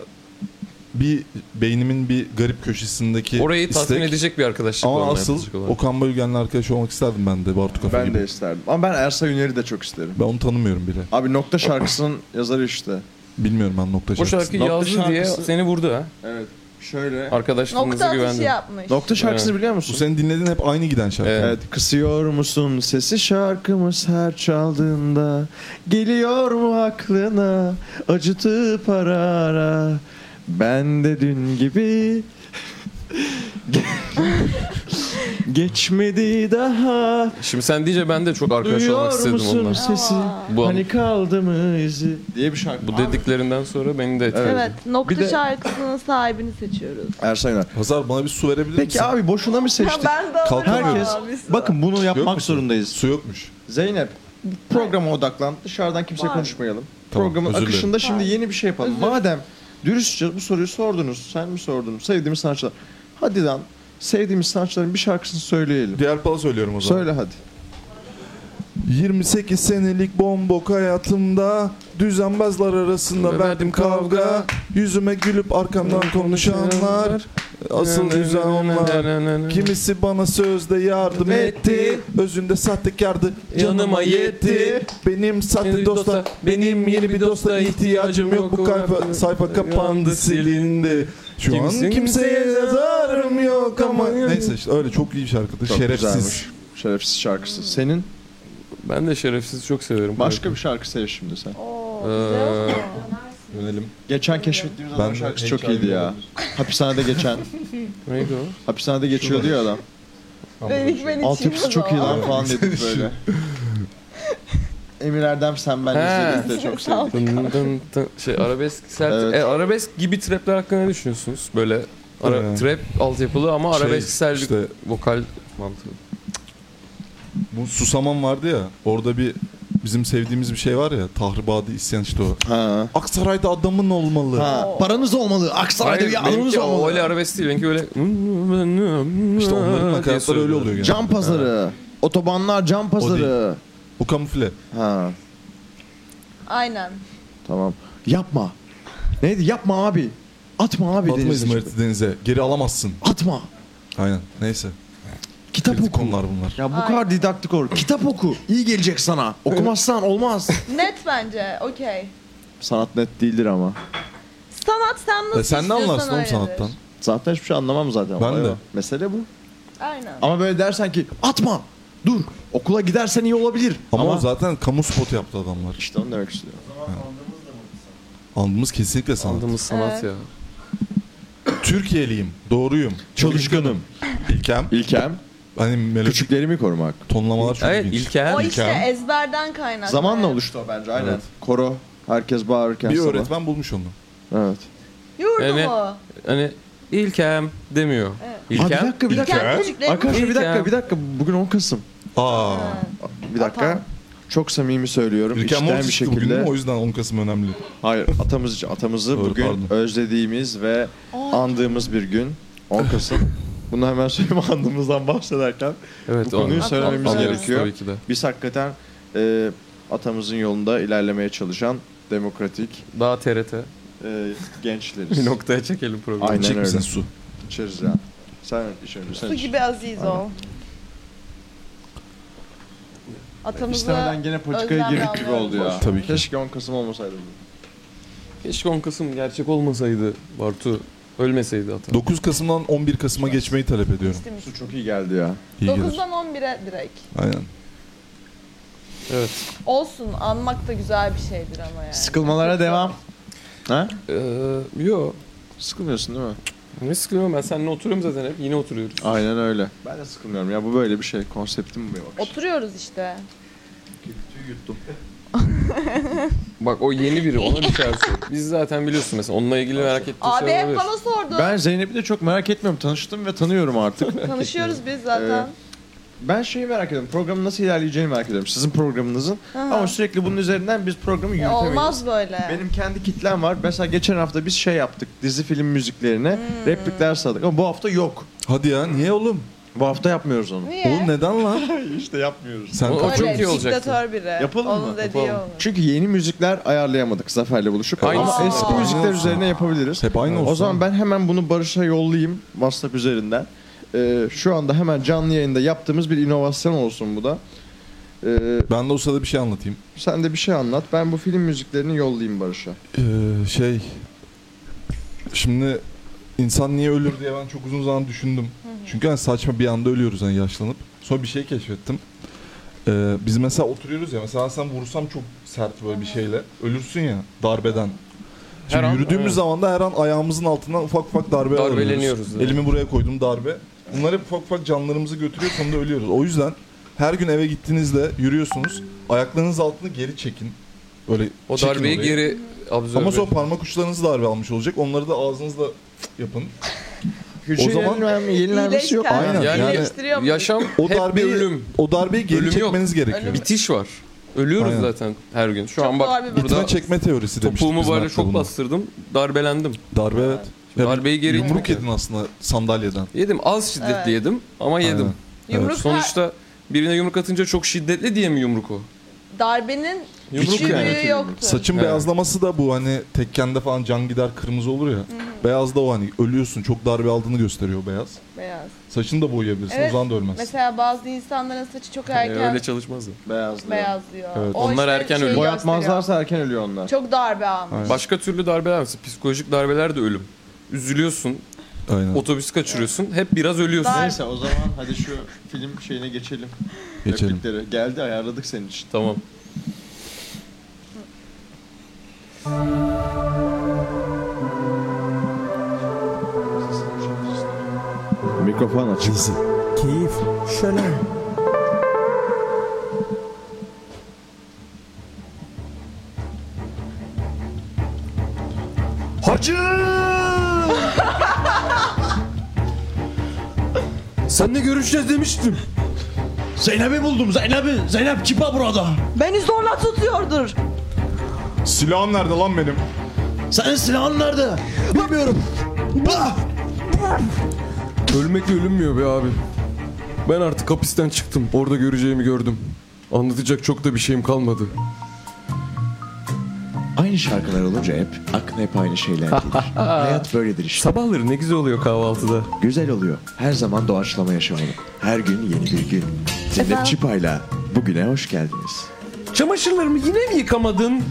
C: bir beynimin bir garip köşesindeki
D: Orayı
C: istek.
D: tatmin edecek bir arkadaşlık var
C: Ama
D: ona
C: asıl
D: yaklaşık olarak.
C: Okan Bayülgen'le arkadaş olmak isterdim ben de Bartu Kafa
B: Ben
C: gibi.
B: de isterdim. Ama ben Ersoy Üner'i de çok isterim.
C: Ben onu tanımıyorum bile.
B: Abi Nokta şarkısının yazarı işte.
C: Bilmiyorum ben nokta
D: O
C: şarkısını.
D: şarkı
B: Nokta
D: yazdı diye
B: şarkısı.
D: seni vurdu ha.
B: Evet. Şöyle.
D: Arkadaşlığınıza
E: Nokta atışı
D: güvendim.
E: yapmış.
B: Nokta şarkısını biliyor
C: Bu
B: musun?
C: senin dinlediğin hep aynı giden şarkı.
D: Evet.
B: Evet. Kısıyor musun sesi şarkımız her çaldığında Geliyor mu aklına acıtıp ara ara Ben de dün gibi (laughs) Geçmedi daha
D: Şimdi sen deyince ben de çok arkadaş olmak
B: Duyuyor
D: istedim
B: musun
D: ondan.
B: sesi
E: Aa.
D: Bu, an-
B: Hani kaldı mı izi diye bir şarkı
D: bu dediklerinden sonra beni de etkiledi.
E: Evet, nokta
B: Bir de-
E: şarkısının sahibini seçiyoruz.
B: Ersan İnan.
C: Hazar bana bir su verebilir
B: Peki
C: misin?
B: abi boşuna mı seçtik?
E: (laughs) ben de alırım
B: Herkes
E: abi.
B: bakın bunu
C: Yok
B: yapmak
C: musun?
B: zorundayız.
C: Su yokmuş.
B: Zeynep programa odaklan. Dışarıdan kimse
E: Var.
B: konuşmayalım.
C: Tamam,
B: Programın
C: özür dilerim.
B: akışında şimdi
E: Var.
B: yeni bir şey yapalım. Madem dürüstçe bu soruyu sordunuz. Sen mi sordun? Sevdiğimiz sanatçılar. Hadi lan sevdiğimiz sanatçıların bir şarkısını söyleyelim.
C: Diğer pala söylüyorum o zaman.
B: Söyle hadi.
C: 28 senelik bombok hayatımda Düzenbazlar arasında verdim kavga Yüzüme gülüp arkamdan konuşanlar Asıl düzen onlar Kimisi bana sözde yardım etti Özünde sahtekardı Canıma yetti Benim sahte dostlar Benim yeni bir dosta ihtiyacım yok Bu sayfa, sayfa kapandı silindi Şu an kimseye zararım yok ama Neyse işte öyle çok iyi bir şarkıdır
B: Çok
C: Şerefsiz
B: güzelmiş. Şerefsiz şarkısı. Senin
D: Ben de şerefsiz çok severim.
B: başka bir şarkı sev şimdi sen.
E: Oo,
D: Ee,
E: güzel.
C: Yönelim
B: Geçen keşfettiğimiz
C: Ben
B: adam
C: de
B: şarkısı
C: hiç
B: çok iyiydi ya.
C: ayrılmadım.
B: (laughs) Hapishanede geçen.
D: Neydi
C: (laughs)
D: o?
B: Hapishanede geçiyordu ya adam.
E: Dedik ben
B: Altyapısı çok iyi lan falan dedik böyle. Emir Erdem sen ben
D: He.
B: izledik de çok
D: (laughs)
B: sevdik.
D: Dın dın dın. şey arabesk sert.
B: Evet.
D: E, arabesk gibi trapler hakkında ne düşünüyorsunuz? Böyle ara,
C: Ee,
D: trap altyapılı ama
C: şey,
D: arabesk sert
C: işte-
D: vokal mantığı.
C: Bu Susaman vardı ya orada bir bizim sevdiğimiz bir şey var ya Tahribadı isyan işte o.
B: Ha.
C: Aksaray'da adamın olmalı.
B: Ha, paranız olmalı. Aksaray'da
D: Hayır,
B: bir anınız
D: benimki o öyle
B: olmalı.
D: arabesk değil. Benimki öyle...
C: İşte onların
D: diye
C: nakaratları öyle
D: söylüyor.
C: oluyor genelde.
B: Can pazarı. Otobanlar can pazarı.
C: Bu kamufle.
B: Ha,
E: Aynen.
B: tamam. Yapma. Neydi? Yapma abi. Atma abi
C: Batma
B: denize.
C: İzmir'i denize. Geri alamazsın.
B: Atma.
C: Aynen. Neyse.
B: Kitap
C: Kritik
B: oku.
C: konular bunlar.
B: Ya bu kadar didaktik olur. Kitap oku. İyi gelecek sana. Okumazsan olmaz.
E: Net bence, okey.
B: (laughs) Sanat net değildir ama.
E: Sanat sen nasıl
C: E sen ne
E: istiyorsan
C: anlarsın oğlum
E: öyledir.
C: sanattan?
B: Zaten hiçbir şey anlamam zaten.
C: Ben
B: Olay
C: de.
B: o. Mesele bu.
E: Aynen.
B: Ama böyle dersen ki atma. Dur. Okula gidersen iyi olabilir.
C: Ama,
B: Ama,
C: o zaten kamu spotu yaptı adamlar.
B: işte onu demek istiyorum.
C: Andımız kesinlikle sanat.
D: Andığımız
E: Evet.
D: sanat ya.
C: Türkiye'liyim. Doğruyum.
B: Çalışkanım.
C: İlkem.
B: İlkem
C: Hani melodik
B: küçüklerimi korumak.
C: tonlamalar çok
D: Evet,
C: ilginç.
D: İlker.
E: O işte
C: imkan.
E: ezberden kaynaklı.
B: Zamanla oluştu o bence aynen.
C: Evet.
B: Koro herkes bağırırken
C: Bir
B: sabah.
C: öğretmen bulmuş onu.
B: Evet.
E: Yurdu
D: Yani-
E: mu?
D: Hani İlkem demiyor.
B: Aa, bir
D: İlkem.
B: dakika bir dakika.
E: İlker
C: İlker.
E: küçüklerin
B: Arkadaşlar bir dakika
D: İlkem.
B: bir dakika. Bugün 10 Kasım.
C: Aa.
B: Bir dakika.
E: Atan.
B: Çok samimi söylüyorum.
C: İlkem
B: içten
C: Mortis
B: bir
C: çıktı bugün değil
B: şekilde.
C: mi? O yüzden 10 Kasım önemli.
B: Hayır atamız için atamızı
C: Doğru,
B: bugün
C: pardon.
B: özlediğimiz ve andığımız bir gün 10 Kasım. Bunu hemen söyleyeyim andığımızdan bahsederken.
D: Evet,
B: Bu konuyu
D: onu
B: söylememiz
D: anlıyoruz
B: gerekiyor.
D: Tabii ki de.
B: Biz hakikaten e, atamızın yolunda ilerlemeye çalışan demokratik
D: Daha TRT.
B: e, gençleriz.
D: Bir noktaya çekelim programı.
B: Aynen
C: İçecek misin
B: öyle.
C: su?
B: İçeriz ya. Sen iç önce sen
E: Su
B: iç.
E: gibi aziz ol. Atamıza
B: İstemeden gene politikaya
E: özlemle
B: girdik gibi
E: anıyoruz.
B: oldu ya.
C: Tabii ki.
B: Keşke 10 Kasım olmasaydı. bu.
D: Keşke 10 Kasım gerçek olmasaydı Bartu. Ölmeseydi hatta.
C: 9 Kasım'dan 11 Kasım'a geçmeyi talep ediyorum.
B: Su çok iyi geldi ya.
C: İyi gelir.
E: 9'dan 11'e direkt.
C: Aynen.
D: Evet.
E: Olsun anmak da güzel bir şeydir ama yani.
B: Sıkılmalara devam. Ha?
D: Ee, yo.
B: Sıkılmıyorsun değil mi?
D: Ne sıkılıyorum ben seninle oturuyorum zaten hep. Yine oturuyoruz.
B: Aynen öyle. Ben de sıkılmıyorum ya bu böyle bir şey. Konseptim bu ya bak.
E: Oturuyoruz işte.
B: Tüy yuttum.
D: Bak o yeni biri ona bir şey sor. Biz zaten biliyorsun mesela onunla ilgili merak ettiğin
E: Abi
D: şeyler
E: hep
D: olabilir.
E: bana sordu.
B: Ben Zeynep'i de çok merak etmiyorum. Tanıştım ve tanıyorum
E: (laughs)
B: artık.
E: Tanışıyoruz biz zaten.
B: ben şeyi merak ediyorum. Programın nasıl ilerleyeceğini merak ediyorum. Sizin programınızın.
E: Aha.
B: Ama sürekli bunun üzerinden biz programı
E: Ya
B: yürütemeyiz.
E: E, olmaz böyle.
B: Benim kendi kitlem var. Mesela geçen hafta biz şey yaptık. Dizi film müziklerine
E: Hmm.
B: replikler sardık. Ama bu hafta yok.
C: Hadi ya niye oğlum?
B: Bu hafta yapmıyoruz (laughs) onu.
E: Niye?
C: Oğlum neden lan?
B: işte yapmıyoruz.
C: Sen
D: O- o
C: kaç-
E: Öyle
D: çok iyi olacaktı.
E: Diktatör biri.
B: Yapalım mı?
E: Onun dediği
D: Yapalım.
E: olur.
B: Çünkü yeni müzikler ayarlayamadık Zafer'le buluşup. Ama
D: Aynısını
B: eski
E: yapalım.
B: müzikler
C: Aynı olsun.
B: üzerine yapabiliriz.
C: Hep aynı olsun.
B: O zaman ben hemen bunu Barış'a yollayayım WhatsApp üzerinden. Ee, şu anda hemen canlı yayında yaptığımız bir inovasyon olsun bu da. Ee,
C: Ben de o sırada bir şey anlatayım.
B: sen de bir şey anlat. Ben bu film müziklerini yollayayım Barış'a.
C: Ee, şey şimdi insan niye ölür diye ben çok uzun zaman düşündüm. Çünkü hani saçma bir anda ölüyoruz hani yaşlanıp. Sonra bir şey keşfettim. Ee, biz mesela oturuyoruz ya mesela sen vursam çok sert böyle bir şeyle ölürsün ya darbeden.
D: Her
C: Şimdi
D: an,
C: yürüdüğümüz
D: evet.
C: zaman da her an ayağımızın altından ufak ufak darbe
D: Darbeleniyoruz,
C: alıyoruz.
D: evet.
C: Elimi buraya koydum darbe. Bunlar hep ufak ufak canlarımızı götürüyor sonunda ölüyoruz. O yüzden her gün eve gittiğinizde yürüyorsunuz. Ayaklarınız altını geri çekin. Öyle
D: O
C: çekin
D: darbeyi
C: orayı.
D: geri absorbe.
C: Ama sonra parmak uçlarınızı darbe almış olacak. Onları da ağzınızla yapın.
B: Hücre
C: zaman-
B: yenilenme- yenilenmesi yok.
E: İyileşken
C: şey Aynen,
D: yani,
E: iyileştiriyor muyuz?
D: yaşam
C: O
D: hep
C: darbeyi,
D: bir ölüm.
C: o darbeyi geri
D: Ölüm yok.
C: çekmeniz gerekiyor.
E: Ölüm.
D: Bitiş var. Ölüyoruz
C: Aynen.
D: zaten her gün. Şu
E: Çok
D: an
E: ağır bir
D: bak
E: bakış.
D: burada
C: Bitme çekme teorisi demiştik
D: topuğumu
C: biz
D: böyle
C: Mert'le
D: çok
C: bunu.
D: bastırdım. Darbelendim.
C: Darbe evet. Ya
D: Darbeyi geri
C: Yumruk
D: itmek.
C: yedin aslında sandalyeden.
D: Yedim az şiddetli
E: Evet.
D: yedim ama yedim.
C: Aynen.
E: Yumruk
D: Sonuçta birine yumruk atınca çok şiddetli diye mi yumruk o?
E: darbenin
D: Yumruk
E: küçüğü
D: yani. Ee,
E: büyüğü yoktu.
C: Saçın
D: Evet.
C: beyazlaması da bu hani tekkende falan can gider kırmızı olur ya. Beyaz da o hani ölüyorsun çok darbe aldığını gösteriyor beyaz.
E: Beyaz.
C: Saçını da boyayabilirsin
E: Evet.
C: o zaman da ölmezsin.
E: Mesela bazı insanların saçı çok
D: Yani
E: erken
D: Hani öyle çalışmaz ya.
B: Beyazlı.
E: beyazlıyor.
C: Evet.
E: O
D: Onlar erken
E: şeyi
D: ölüyor.
E: gösteriyor.
B: Boyatmazlarsa erken ölüyor onlar.
E: Çok darbe almış.
D: Başka türlü darbeler mesela psikolojik darbeler de ölüm. Üzülüyorsun,
C: Aynen.
D: otobüs kaçırıyorsun, hep biraz ölüyorsun.
E: Dar-
B: Neyse o zaman hadi şu film şeyine geçelim.
C: Geçelim.
B: Replikleri. Geldi ayarladık senin için.
D: Tamam.
B: Mikrofon açık.
A: Keyif, şölen.
B: Hacı!
D: Senle görüşeceğiz demiştim.
A: Zeynep'i buldum Zeynep'i. Zeynep Kipa burada.
E: Beni zorla tutuyordur.
C: Silahım nerede lan benim?
A: Senin silahın nerede? Bilmiyorum. Bah!
D: Ölmekle ölünmüyor be abi. Ben artık kapisten çıktım. Orada göreceğimi gördüm. Anlatacak çok da bir şeyim kalmadı.
B: Aynı şarkılar olunca hep aklına hep aynı şeyler gelir. Hayat böyledir işte.
D: Sabahları ne güzel oluyor kahvaltıda.
B: Güzel oluyor. Her zaman doğaçlama yaşamalı. Her gün yeni bir gün. Zeynep Çipa'yla bugüne hoş geldiniz.
D: Çamaşırlarımı yine mi yıkamadın?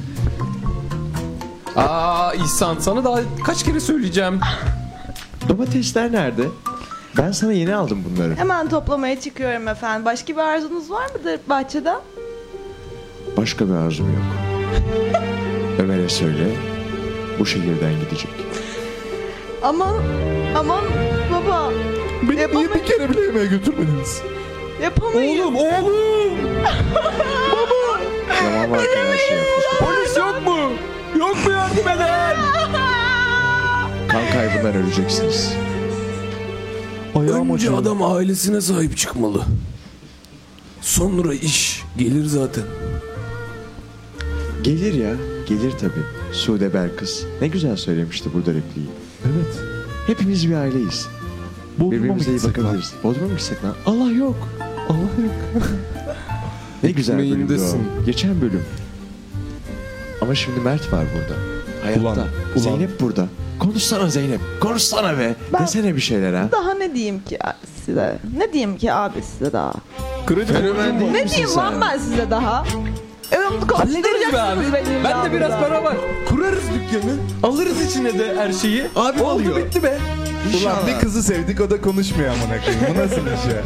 D: Aa İhsan sana daha kaç kere söyleyeceğim.
B: Domatesler nerede? Ben sana yeni aldım bunları.
E: Hemen toplamaya çıkıyorum efendim. Başka bir arzunuz var mıdır bahçeden?
B: Başka bir arzum yok. Ömer'e söyle bu şehirden gidecek.
E: Aman aman baba
C: Beni niye
E: Yapamayız.
C: bir kere bile yemeğe götürmediniz?
E: yapamayız.
D: Oğlum
E: (laughs)
D: oğlum.
B: Tamam varken her şey yapmış.
D: Polis yok mu? Yok mu yardım eden?
B: Kan kaybından öleceksiniz.
C: Ayağım
G: Önce
C: açıyor.
G: adam ailesine sahip çıkmalı. Sonra iş gelir zaten.
B: Gelir ya, gelir tabii. Sude Belkıs ne güzel söylemişti burada repliği.
C: Evet.
B: Hepimiz bir aileyiz.
C: Bodrum'a mı
B: Birbirimize iyi
C: gitsek lan?
B: bakabiliriz. Bodrum'a mı gitsek lan? Allah yok. Allah yok. ne güzel bölümdü o.
D: Ekmeğindesin.
B: Geçen bölüm. Ama şimdi Mert var burada. Hayatta.
C: Ulan, ulan.
B: Zeynep burada. Konuşsana Zeynep. Konuşsana be. Desene bir şeyler ha.
E: Daha ne diyeyim ki size? Ne diyeyim ki abi size daha?
D: Kredi
B: Fenomen değil
E: Ne
B: misin
E: diyeyim lan
B: sen?
E: ben size daha? Ee,
G: Hallederiz be abi.
E: konuşturacaksınız beni
G: Ben de biraz
E: illa burada.
G: para var. Kurarız dükkanı. Alırız içine de her şeyi. Abi Oldu
B: alıyor.
G: bitti be.
B: İnşallah.
C: Ulan bir kızı sevdik o da konuşmuyor amına koyayım. Bu nasıl bir şey?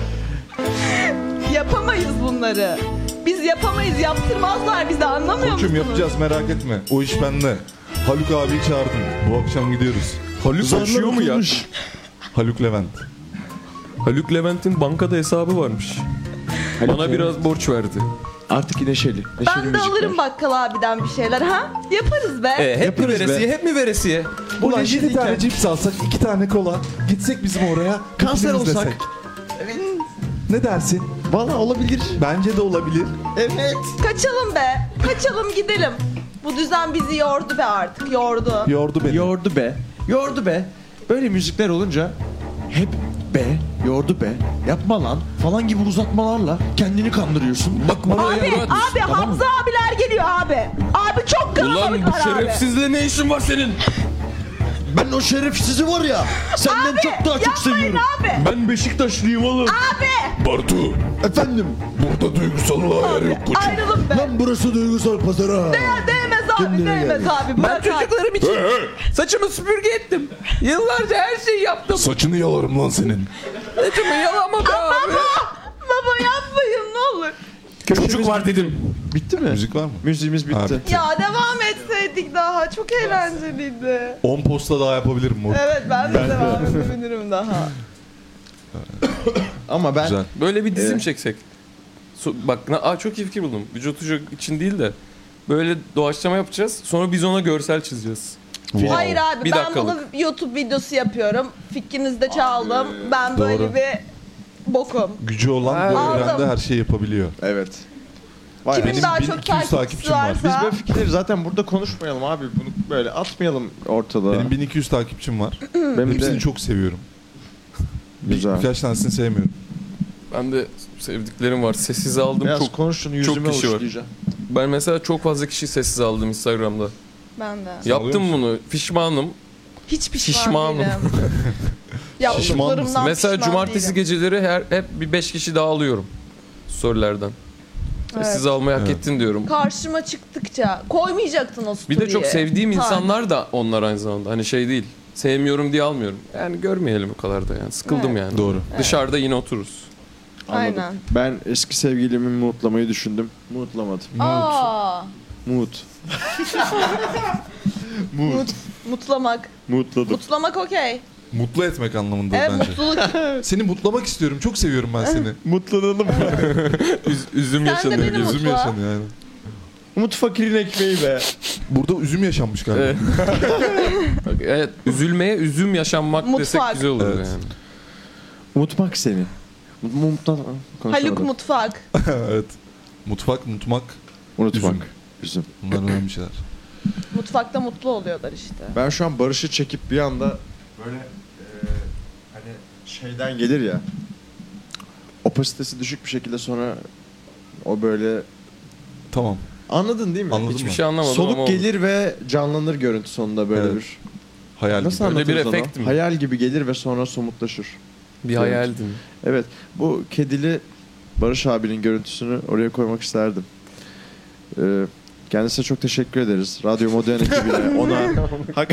E: Yapamayız bunları. Biz yapamayız yaptırmazlar bizi anlamıyor
C: Koçum
E: musunuz?
C: yapacağız merak etme. O iş bende. Haluk abi çağırdım. Bu akşam gidiyoruz.
D: Haluk
B: Zarlar
D: açıyor mu ya?
B: atılmış.
C: Haluk Levent.
D: Haluk Levent'in bankada hesabı varmış. Bana biraz borç verdi.
B: Artık neşeli. neşeli
E: Ben de
B: müzikler.
E: alırım bakkal abiden bir şeyler ha. Yaparız be.
G: E, hep mi
B: Yaparız be.
G: veresiye, hep mi veresiye?
C: Ulan
B: Ulan
C: yedi
B: şimdi
C: tane cips alsak, iki tane kola, gitsek bizim oraya.
B: Kanser
C: ikilimiz
B: olsak.
C: desek. Ne dersin?
B: Valla olabilir.
C: Bence de olabilir.
B: Evet.
E: Kaçalım be. Kaçalım gidelim. Bu düzen bizi yordu be artık. Yordu.
C: Yordu beni.
B: Yordu be. Yordu be. Böyle müzikler olunca hep be, yordu be, yapma lan falan gibi uzatmalarla kendini kandırıyorsun. Bakma lan.
E: Abi, abi Hamza abiler geliyor abi. Abi çok
D: Ulan bu
E: kalabalıklar abi.
D: şerefsizle ne işin var senin?
B: Ben o şerefsizi var ya senden
E: Abi,
B: çok daha çok
E: yapmayın
B: seviyorum.
E: abi.
B: Ben Beşiktaşlıyım oğlum.
E: Abi,
A: Bartu
B: Efendim.
A: burada duygusallığa yer yok koçum.
E: ayrılın be.
B: Lan burası duygusal pazara.
E: Ya değmez abi,
B: Kendine
E: değmez abi.
G: Ben
E: Bırak abi.
G: çocuklarım için
A: Hey, hey,
G: saçımı süpürge ettim. Yıllarca her şeyi yaptım.
A: Saçını yalarım lan senin.
G: Saçımı yalamadı abi.
E: Baba yapmayın ne olur.
B: Çocuk var
A: dedim.
B: Bitti mi?
C: Müzik var mı?
B: Müziğimiz bitti.
C: Abi.
E: Ya devam etseydik daha. Çok eğlenceliydi.
C: 10 posta daha yapabilirim bu.
E: Evet ben de devam edebilirim daha.
B: Ama ben
C: Güzel.
D: Böyle bir dizim
B: Evet.
D: çeksek. So- bak na- aa, çok iyi fikir buldum. Vücut ucu için değil de böyle doğaçlama yapacağız. Sonra biz ona görsel çizeceğiz.
E: Hayır abi
D: Bir
E: ben bunu
D: dakikalık.
E: YouTube videosu yapıyorum. Fikrinizde çaldım. ben
C: Doğru.
E: böyle bir bokum.
C: Gücü olan bu
E: Aldım.
C: evrende her şeyi yapabiliyor.
B: Evet.
E: Kimin
C: benim
E: daha
C: 1200
E: çok takipçisi
C: takipçim var.
E: varsa.
B: Biz böyle fikirleri zaten burada konuşmayalım abi. Bunu böyle atmayalım ortalığa.
C: Benim 1200 takipçim var.
B: Benim
C: Hepsini çok seviyorum. Bir-
B: Güzel.
C: Birkaç tanesini sevmiyorum.
D: Ben de sevdiklerim var. Sessize aldım
B: Biraz
D: çok.
B: konuş şunu yüzüme
D: kişi var.
B: uçlayacağım.
D: Ben mesela çok fazla kişi sessize aldım Instagram'da.
E: Ben de.
D: Yaptım bunu. Pişmanım.
E: Hiç pişman
D: Şişmanım.
E: değilim. Yaptıklarımdan
D: mesela
E: pişman
D: cumartesi
E: değilim.
D: geceleri her hep bir 5 kişi daha alıyorum sorulardan.
E: Evet.
D: Sessize almayı hak
C: Evet.
D: ettin diyorum.
E: Karşıma çıktıkça koymayacaktın o
D: Bir
E: story'yi.
D: de çok sevdiğim
E: Tarih.
D: insanlar da onlar aynı zamanda. Hani şey değil. Sevmiyorum diye almıyorum. Yani görmeyelim o kadar da yani. Sıkıldım
E: Evet.
D: yani.
C: Doğru.
D: Dışarıda yine (laughs) otururuz.
B: Anladım.
E: Aynen.
B: Ben eski sevgilimi mutlamayı düşündüm. Mutlamadım.
E: Aa,
B: Mut.
E: mut, mutlamak.
B: Mutladım.
E: Mutlamak okey.
C: Mutlu etmek anlamında
E: Evet
C: bence.
E: mutluluk.
C: (laughs) Seni mutlamak istiyorum. Çok seviyorum ben seni.
B: Mutlanalım.
D: üzüm
E: Sen de beni
C: üzüm
E: mutla.
C: yaşanıyor yani.
B: (laughs) Mut fakirin ekmeği be.
C: Burada üzüm yaşanmış galiba.
D: Evet. Bak, evet, üzülmeye üzüm yaşanmak desek
E: Mutfak.
D: güzel olur
C: Evet.
D: yani.
B: Unutmak seni. Mut- Mutla... konuşamadım.
E: Haluk mutfak.
C: (laughs) evet. Mutfak, mutmak.
B: Unutmak.
C: Üzüm.
B: Üzüm.
C: Bunlar önemli şeyler.
E: Mutfakta mutlu oluyorlar işte.
B: Ben şu an Barış'ı çekip bir anda böyle e, hani şeyden gelir ya. Opasitesi düşük bir şekilde sonra o böyle
C: Tamam.
B: anladın değil mi?
C: Anladım.
D: Hiçbir
C: mı?
D: şey anlamadım ama
B: Soluk
D: olur.
B: gelir ve canlanır görüntü sonunda böyle
C: Evet.
B: bir.
C: Hayal
B: Nasıl
D: Öyle bir
B: anlatırız ona?
D: efekt mi?
B: Hayal gibi gelir ve sonra somutlaşır.
D: Bir hayaldim.
B: Evet bu kedili Barış abinin görüntüsünü oraya koymak isterdim. Ee, kendisine çok teşekkür ederiz. Radyo Modern
C: (laughs)
B: ekibine ona hak-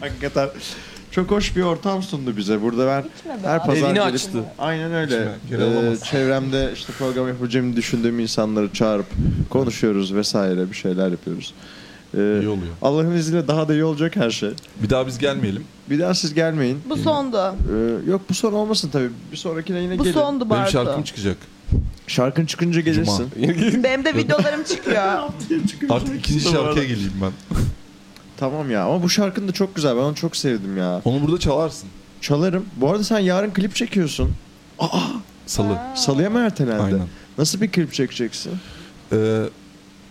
B: hakikaten çok hoş bir ortam sundu bize. Burada ben
E: Gitme be
B: her
E: abi.
B: pazar
D: Evini
B: gelip-
D: açtı.
B: Aynen öyle.
C: İçime geri
B: Ee,
C: alamaz.
B: çevremde işte program yapacağımı düşündüğüm insanları çağırıp konuşuyoruz vesaire bir şeyler yapıyoruz. Ee,
C: İyi oluyor.
B: Allah'ın izniyle daha da iyi olacak her şey.
C: Bir daha biz gelmeyelim.
B: Bir daha siz gelmeyin.
E: Bu sondu.
B: Ee, yok bu son olmasın tabii. Bir sonrakine yine
E: Bu
B: gelin.
E: sondu
C: Benim şarkım
E: Bartu.
D: (laughs)
C: çıkacak.
B: Şarkın çıkınca gelirsin.
E: Benim de videolarım
C: (laughs)
E: çıkıyor.
C: Artık ikinci şarkıya geleyim ben.
B: Tamam ya ama bu şarkın da çok güzel. Ben onu çok sevdim ya.
C: Onu burada çalarsın.
B: Çalarım. Bu arada sen yarın klip çekiyorsun.
C: Salı.
B: Salıya mı ertelendi?
C: Aynen.
B: Nasıl bir klip çekeceksin?
C: Ee,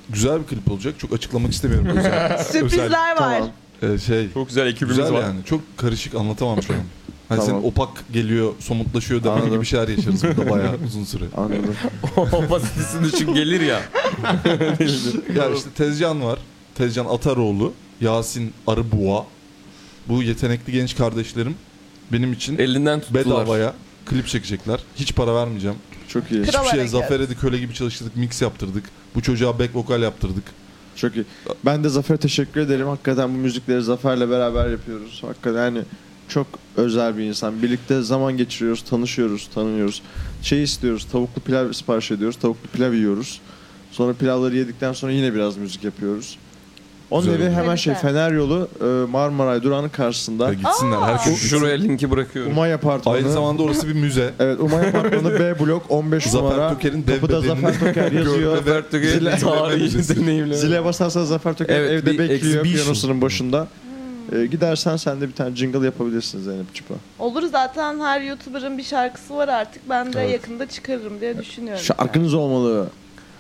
C: güzel bir klip olacak. Çok açıklamak istemiyorum.
D: (laughs)
C: Özel. Özel.
E: Sürprizler var.
B: Tamam.
C: Ee, şey.
D: Çok güzel ekibimiz
C: Güzel
D: var.
C: yani. Çok karışık anlatamam şu an. Hani
B: Tamam.
C: senin opak geliyor, somutlaşıyor demen
B: Anladım.
C: gibi şeyler yaşarız burada
B: (laughs)
C: bayağı uzun süre.
B: Anladım.
D: (laughs) Basitisi düşün gelir ya.
C: Ya işte Tezcan var. Tezcan Ataroğlu, Yasin Arıboğa. Bu yetenekli genç kardeşlerim benim için
D: Elinden tuttular.
C: bedavaya klip çekecekler. Hiç para vermeyeceğim.
B: çok iyi.
E: Kral
C: Hiçbir şeye
E: hareket.
C: Zafer Edi köle gibi çalıştırdık, mix yaptırdık. Bu çocuğa back vokal yaptırdık.
B: Çok iyi. Ben de Zafer'e teşekkür ederim. Hakikaten bu müzikleri Zafer'le beraber yapıyoruz. Hakikaten yani çok özel bir insan. Birlikte zaman geçiriyoruz, tanışıyoruz, tanıyoruz. Şey istiyoruz, tavuklu pilav sipariş ediyoruz. Tavuklu pilav yiyoruz. Sonra pilavları yedikten sonra yine biraz müzik yapıyoruz. Onun
A: Güzel
B: evi
A: oldu.
B: hemen şey
E: Fener.
B: Fener yolu e, Marmaray durağının karşısında.
C: Ya gitsinler herkes. gitsin.
D: Şuraya linki bırakıyorum.
B: Umay Apartmanı.
C: Aynı zamanda orası bir müze.
B: Evet Umay
C: (laughs)
B: Apartmanı B blok 15
C: Zafer
B: numara.
C: Toker'in dev
B: Kapıda
C: bedenini
B: Zafer
C: (laughs)
B: Toker yazıyor.
D: Robert Tüge'nin
B: Zile-
D: tarihi deneyimle.
B: Zile basarsan Zafer Toker
D: Evet,
B: evde
D: bir
B: bekliyor
D: exhibition.
B: piyanosunun başında. E, gidersen sen de bir tane jingle yapabilirsin Zeynep Çipa.
E: Olur zaten her YouTuber'ın bir şarkısı var artık. Ben de yakında çıkarırım diye düşünüyorum.
B: Şarkınız olmalı.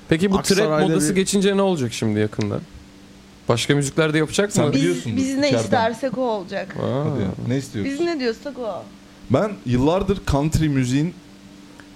D: Peki bu trap
B: Aksaray'da
D: modası
B: bir-
D: geçince ne olacak şimdi yakında? Başka müzikler de yapacak mı?
C: Sen-
E: Biz,
C: Biliyorsunuz
E: biz ne
C: içeriden.
E: istersek o olacak.
D: Aa.
C: Hadi ya, Ne istiyorsun?
E: Biz ne diyorsak o.
C: Ben yıllardır country müziğin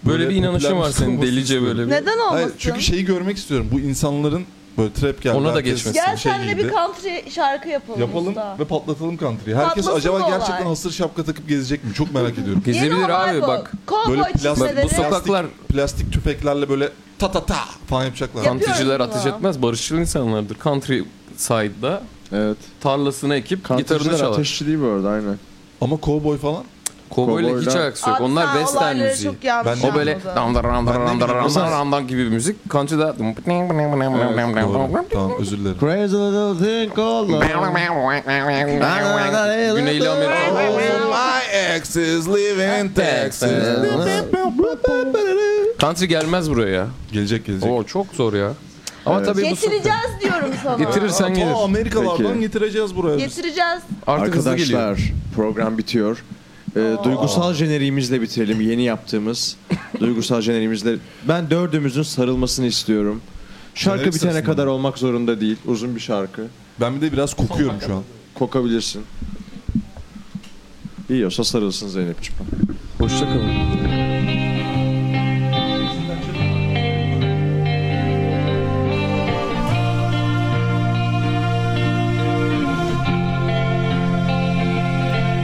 D: Böyle, bir inanışın
C: popüler
D: var
C: müzik
D: senin
C: olmasını
D: delice
C: istiyorum.
D: böyle bir.
E: Neden olmasın?
C: Hayır, çünkü şey- şeyi görmek istiyorum. Bu insanların böyle trap geldi.
D: Ona da
C: herkes
D: geçmesin.
E: Gel
C: şey
E: senle
C: giydi.
E: bir country şarkı yapalım.
C: Yapalım
E: usta.
C: ve patlatalım country'yi. Herkes
E: Patlasın
C: acaba
E: olay.
C: gerçekten hasır şapka takıp gezecek mi? Çok merak
E: (laughs)
C: ediyorum.
E: Yeni
D: Gezebilir
E: olay
D: abi
E: bu.
D: bak.
E: Kovboy
C: Böyle plastik-
E: çizmeleri.
D: Bu sokaklar
C: Plastik tüfeklerle böyle ta ta ta falan yapacaklar.
E: Yapıyor.
D: kanticiler
E: Yapıyoruz
D: ateş
E: bunu.
D: etmez. Barışçıl insanlardır. Country side'da
B: Evet.
D: tarlasını ekip gitarını
B: Kantarcılar
D: çalar.
B: ateşçi değil bu arada aynen.
C: Ama kovboy falan.
D: Kovboyla hiç
B: Kovboylar-
D: alakası yok.
E: Abi
D: Onlar
E: sen
D: western
E: olayları
D: müziği.
E: çok yanlış
C: Ben-
D: O böyle
E: anladın.
D: dam dam dam dam dam dam dam
B: Mesela-
D: dam dam gibi bir müzik. Country'da
C: Doğru. tamam özür dilerim.
B: Crazy little thing called love.
D: Güneyli Amerika.
C: my ex is living in Texas.
D: Country gelmez buraya ya.
C: Gelecek gelecek.
D: Oo çok zor ya. Ama
B: Evet.
D: tabii bu
E: Getireceğiz diyorum sana.
D: getirirsen gelir.
C: Ta Amerikalardan
B: Peki.
C: getireceğiz buraya. biz.
E: Getireceğiz.
D: Artık hızlı geliyor.
B: Arkadaşlar program bitiyor. Ee, duygusal jeneriğimizle bitirelim. Yeni
D: (laughs)
B: yaptığımız duygusal jeneriğimizle. Ben dördümüzün sarılmasını istiyorum. Şarkı
C: Jenerik
B: bitene
C: sırasında.
B: kadar olmak zorunda değil. Uzun bir şarkı.
C: Ben bir de biraz kokuyorum şu an.
B: Kokabilirsin. İyi olsa sarılsın Zeynep'ciğim.
D: Hoşçakalın.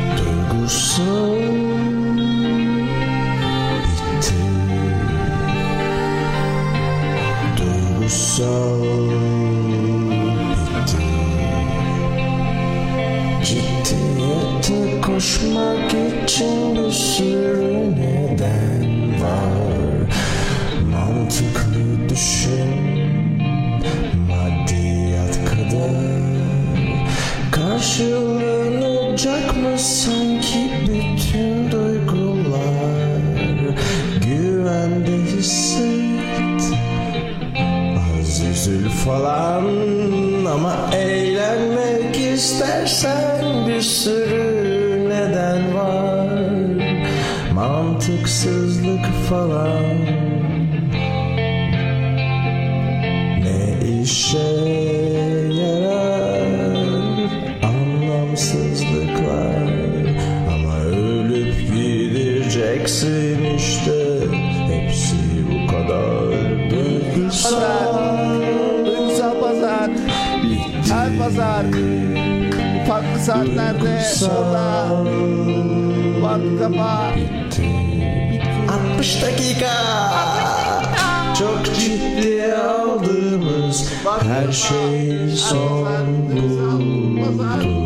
A: Duygusal bitti Duygusal bitti Ciddiyete koşmak için bir sürü neden var Mantıklı düşün Maddiyat kadar Karşılanacak mı sanki bütün duygular Güvende hisset Az üzül falan ama eğlenmek istersen bir sürü neden var Mantıksızlık falan ne işe yarar anlamsızlıklar Ama ölüp gideceksin işte Hepsi bu kadar Duygusal
H: Duygusal pazar. Her pazar. Farklı saatlerde. Orada. Farklı defa.
A: 60 dakika Çok ciddi aldığımız her şey son buldu